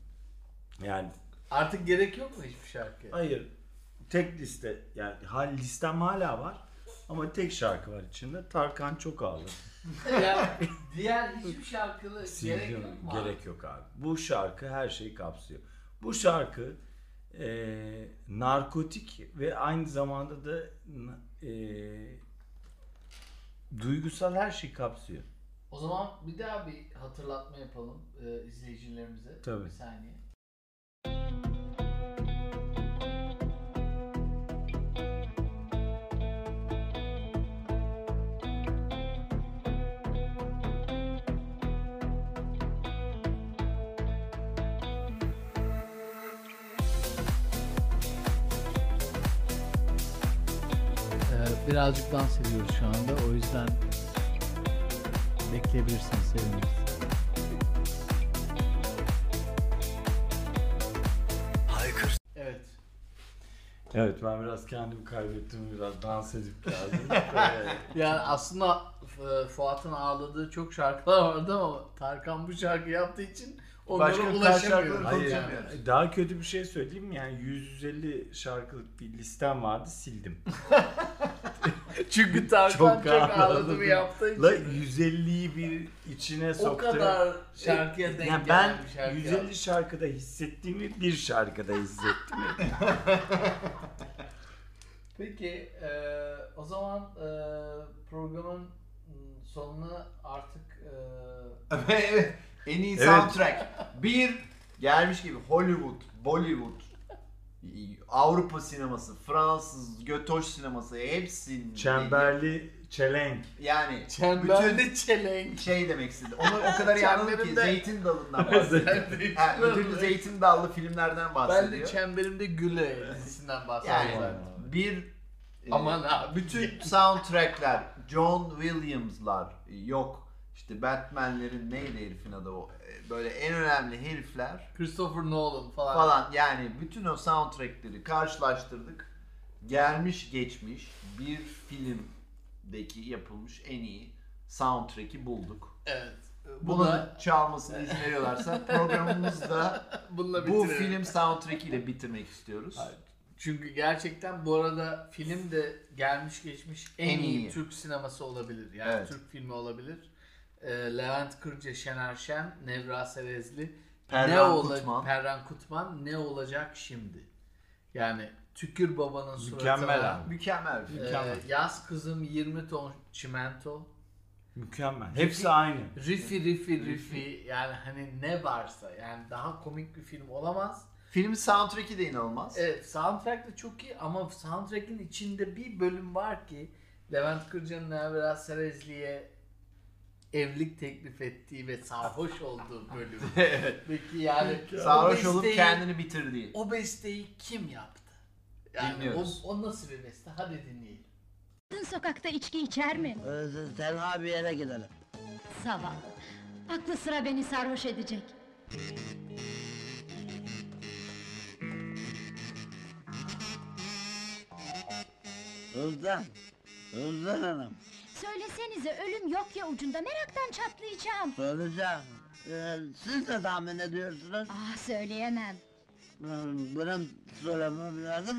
Speaker 1: Yani
Speaker 5: Artık gerek yok mu hiçbir şarkıya?
Speaker 1: Hayır. Tek liste yani hal listem hala var ama tek şarkı var içinde. Tarkan çok ağladı.
Speaker 5: Yani diğer hiçbir şarkılı gerek
Speaker 1: Sildim.
Speaker 5: yok mu? abi?
Speaker 1: Gerek yok abi. Bu şarkı her şeyi kapsıyor. Bu şarkı eee, narkotik ve aynı zamanda da n- eee, duygusal her şeyi kapsıyor.
Speaker 5: O zaman bir daha bir hatırlatma yapalım e, izleyicilerimize.
Speaker 1: Tabii.
Speaker 5: Bir saniye. Ee, Birazcık dans ediyoruz şu anda. O yüzden bekleyebilirsiniz, seviniriz.
Speaker 2: Haykır
Speaker 5: Evet.
Speaker 1: Evet ben biraz kendimi kaybettim biraz dans edip
Speaker 5: [laughs]
Speaker 1: geldim. Eee,
Speaker 5: Yani aslında e, Fuat'ın ağladığı çok şarkılar vardı ama Tarkan bu şarkı yaptığı için onlara
Speaker 4: Başka kaç
Speaker 5: ulaşamıyor.
Speaker 4: şarkıları
Speaker 5: Hayır.
Speaker 4: konuşamıyor.
Speaker 1: Daha kötü bir şey söyleyeyim mi? Yani 150 şarkılık bir listem vardı sildim.
Speaker 5: [laughs] Çünkü Tarkan çok, ağladı mı
Speaker 1: ağladım.
Speaker 5: yaptığı için.
Speaker 1: La 150'yi bir içine
Speaker 5: o
Speaker 1: soktu.
Speaker 5: kadar şarkıya denk
Speaker 1: yani ben
Speaker 5: gelen bir şarkı
Speaker 1: 150
Speaker 5: yaptı.
Speaker 1: şarkıda hissettiğimi bir şarkıda hissettim. [laughs]
Speaker 5: Peki e, o zaman e, programın m, sonuna artık
Speaker 4: [laughs]
Speaker 5: e,
Speaker 4: evet. En iyi
Speaker 1: Evet.
Speaker 4: soundtrack. Bir gelmiş gibi Hollywood, Bollywood, Avrupa sineması, Fransız, götoş sineması hepsini
Speaker 1: Çemberli
Speaker 5: [laughs]
Speaker 1: çelenk.
Speaker 4: yani
Speaker 5: Çemberli Çelenk.
Speaker 4: bütün şey demek istedi. Onu o kadar iyi anladım ki
Speaker 5: Çemberinde-
Speaker 4: zeytin
Speaker 5: [laughs]
Speaker 4: dalından bahsediyor. ha, ödüllü zeytin dallı filmlerden
Speaker 5: Ben de
Speaker 4: bahsediyor.
Speaker 5: Çemberimde Güle dizisinden bahsediyorum.
Speaker 4: yani bir e,
Speaker 5: Aman abi.
Speaker 4: bütün soundtrackler John Williams'lar e, yok işte Batman'lerin neydi herifin adı o e, böyle en önemli herifler
Speaker 5: Christopher Nolan falan.
Speaker 4: falan yani bütün o soundtrackleri karşılaştırdık. Gelmiş geçmiş bir filmdeki yapılmış en iyi soundtrack'i bulduk.
Speaker 5: Evet.
Speaker 4: Bunu
Speaker 5: Buna,
Speaker 4: çalmasını izin veriyorlarsa programımızı da
Speaker 5: bununla
Speaker 4: bu
Speaker 5: bitirelim.
Speaker 4: film soundtrack'iyle bitirmek istiyoruz.
Speaker 5: Çünkü gerçekten bu arada film de gelmiş geçmiş en,
Speaker 4: En
Speaker 5: iyi,
Speaker 4: iyi.
Speaker 5: Türk sineması olabilir. Yani
Speaker 4: Evet.
Speaker 5: Türk filmi olabilir. Ee, Levent Kırca, Şener Şen, Nevra Serezli,
Speaker 4: Perran
Speaker 5: ne ola-
Speaker 4: Kutman.
Speaker 5: Perran Kutman ne olacak şimdi? Yani Tükür Baba'nın suratına.
Speaker 1: Mükemmel abi.
Speaker 4: Mükemmel. bir
Speaker 5: e,
Speaker 4: film.
Speaker 5: yaz kızım 20 ton çimento.
Speaker 1: Mükemmel. Hepsi aynı.
Speaker 5: Rifi rifi rifi yani hani ne varsa yani daha komik bir film olamaz.
Speaker 4: Filmin soundtrack'i de inanılmaz.
Speaker 5: Evet soundtrack da çok iyi ama soundtrack'in içinde bir bölüm var ki Levent Kırca'nın Evra Serezli'ye evlilik teklif ettiği ve sarhoş olduğu
Speaker 4: [laughs]
Speaker 5: bölüm. Peki yani
Speaker 4: Sarhoş
Speaker 5: o
Speaker 4: olup
Speaker 5: besteyi-
Speaker 4: kendini bitirdiği.
Speaker 5: o besteyi kim yaptı? Yani o,
Speaker 4: Bilmiyoruz.
Speaker 5: o nasıl bir beste? Hadi dinleyelim.
Speaker 9: Kadın sokakta içki içer mi?
Speaker 10: Tenha bir yere gidelim.
Speaker 9: Zavallı. Aklı sıra beni sarhoş edecek.
Speaker 10: Özlem. Özlem Hanım.
Speaker 9: Söylesenize ölüm yok ya ucunda meraktan çatlayacağım.
Speaker 10: Söyleyeceğim. Ee, siz de tahmin ediyorsunuz.
Speaker 9: Ah söyleyemem.
Speaker 10: Hmm, Bunu söylemem lazım.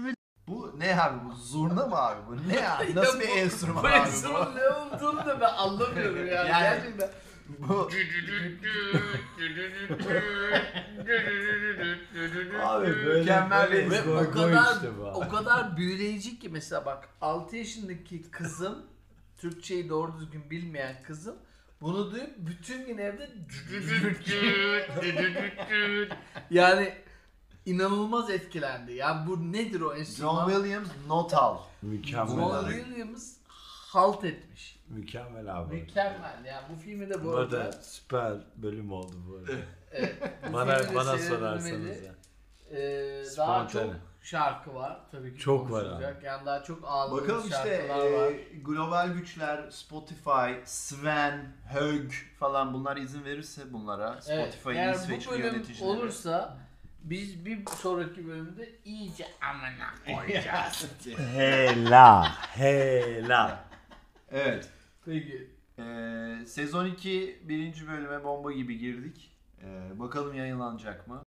Speaker 4: Bu ne abi bu? Zurna mı abi bu?
Speaker 5: [laughs]
Speaker 4: Ne abi?
Speaker 5: Ya
Speaker 4: Nasıl bir
Speaker 5: bu-
Speaker 4: enstrüman
Speaker 5: Bu
Speaker 4: abi
Speaker 5: enstrümanın ne olduğunu da ben anlamıyorum yani.
Speaker 4: Yani-
Speaker 5: Gerçekten.
Speaker 4: bu?
Speaker 1: Abi böyle
Speaker 4: Mükemmel
Speaker 1: böyle
Speaker 4: bir-
Speaker 5: Ve
Speaker 1: goy goy
Speaker 5: o kadar
Speaker 1: işte bu abi.
Speaker 5: o kadar büyüleyici ki mesela bak 6 yaşındaki kızım Türkçeyi doğru düzgün bilmeyen kızım bunu duyup bütün gün evde [laughs] yani inanılmaz etkilendi. Yani bu nedir o
Speaker 4: John
Speaker 5: enstrüman?
Speaker 4: Williams notal.
Speaker 1: Mükemmel
Speaker 5: John
Speaker 1: abi.
Speaker 5: Williams halt etmiş.
Speaker 1: Mükemmel abi.
Speaker 5: Mükemmel yani bu filmi de bu
Speaker 1: Bu
Speaker 5: arada.
Speaker 1: arada süper bölüm oldu bu
Speaker 5: [laughs]
Speaker 1: arada.
Speaker 5: bu filmi
Speaker 1: bana
Speaker 5: de
Speaker 1: bana
Speaker 5: seyredilmeli.
Speaker 1: sorarsanız. ya.
Speaker 5: Ee, daha çok
Speaker 1: Spontane.
Speaker 5: şarkı var tabii ki.
Speaker 1: Çok var
Speaker 5: konuşulacak. Yani daha çok ağlanan
Speaker 4: Bakalım işte
Speaker 5: şarkılar var.
Speaker 4: e, global güçler Spotify, Sven, Hög falan bunlar izin verirse bunlara Spotify'ın
Speaker 5: yani bu
Speaker 4: İsveçli
Speaker 5: bölüm
Speaker 4: yöneticileri.
Speaker 5: olursa biz bir sonraki bölümde iyice amına
Speaker 4: [laughs]
Speaker 5: koyacağız.
Speaker 1: Hela, hela.
Speaker 4: Evet.
Speaker 5: Peki.
Speaker 4: E, sezon 2 birinci bölüme bomba gibi girdik. E, Ee, bakalım yayınlanacak mı?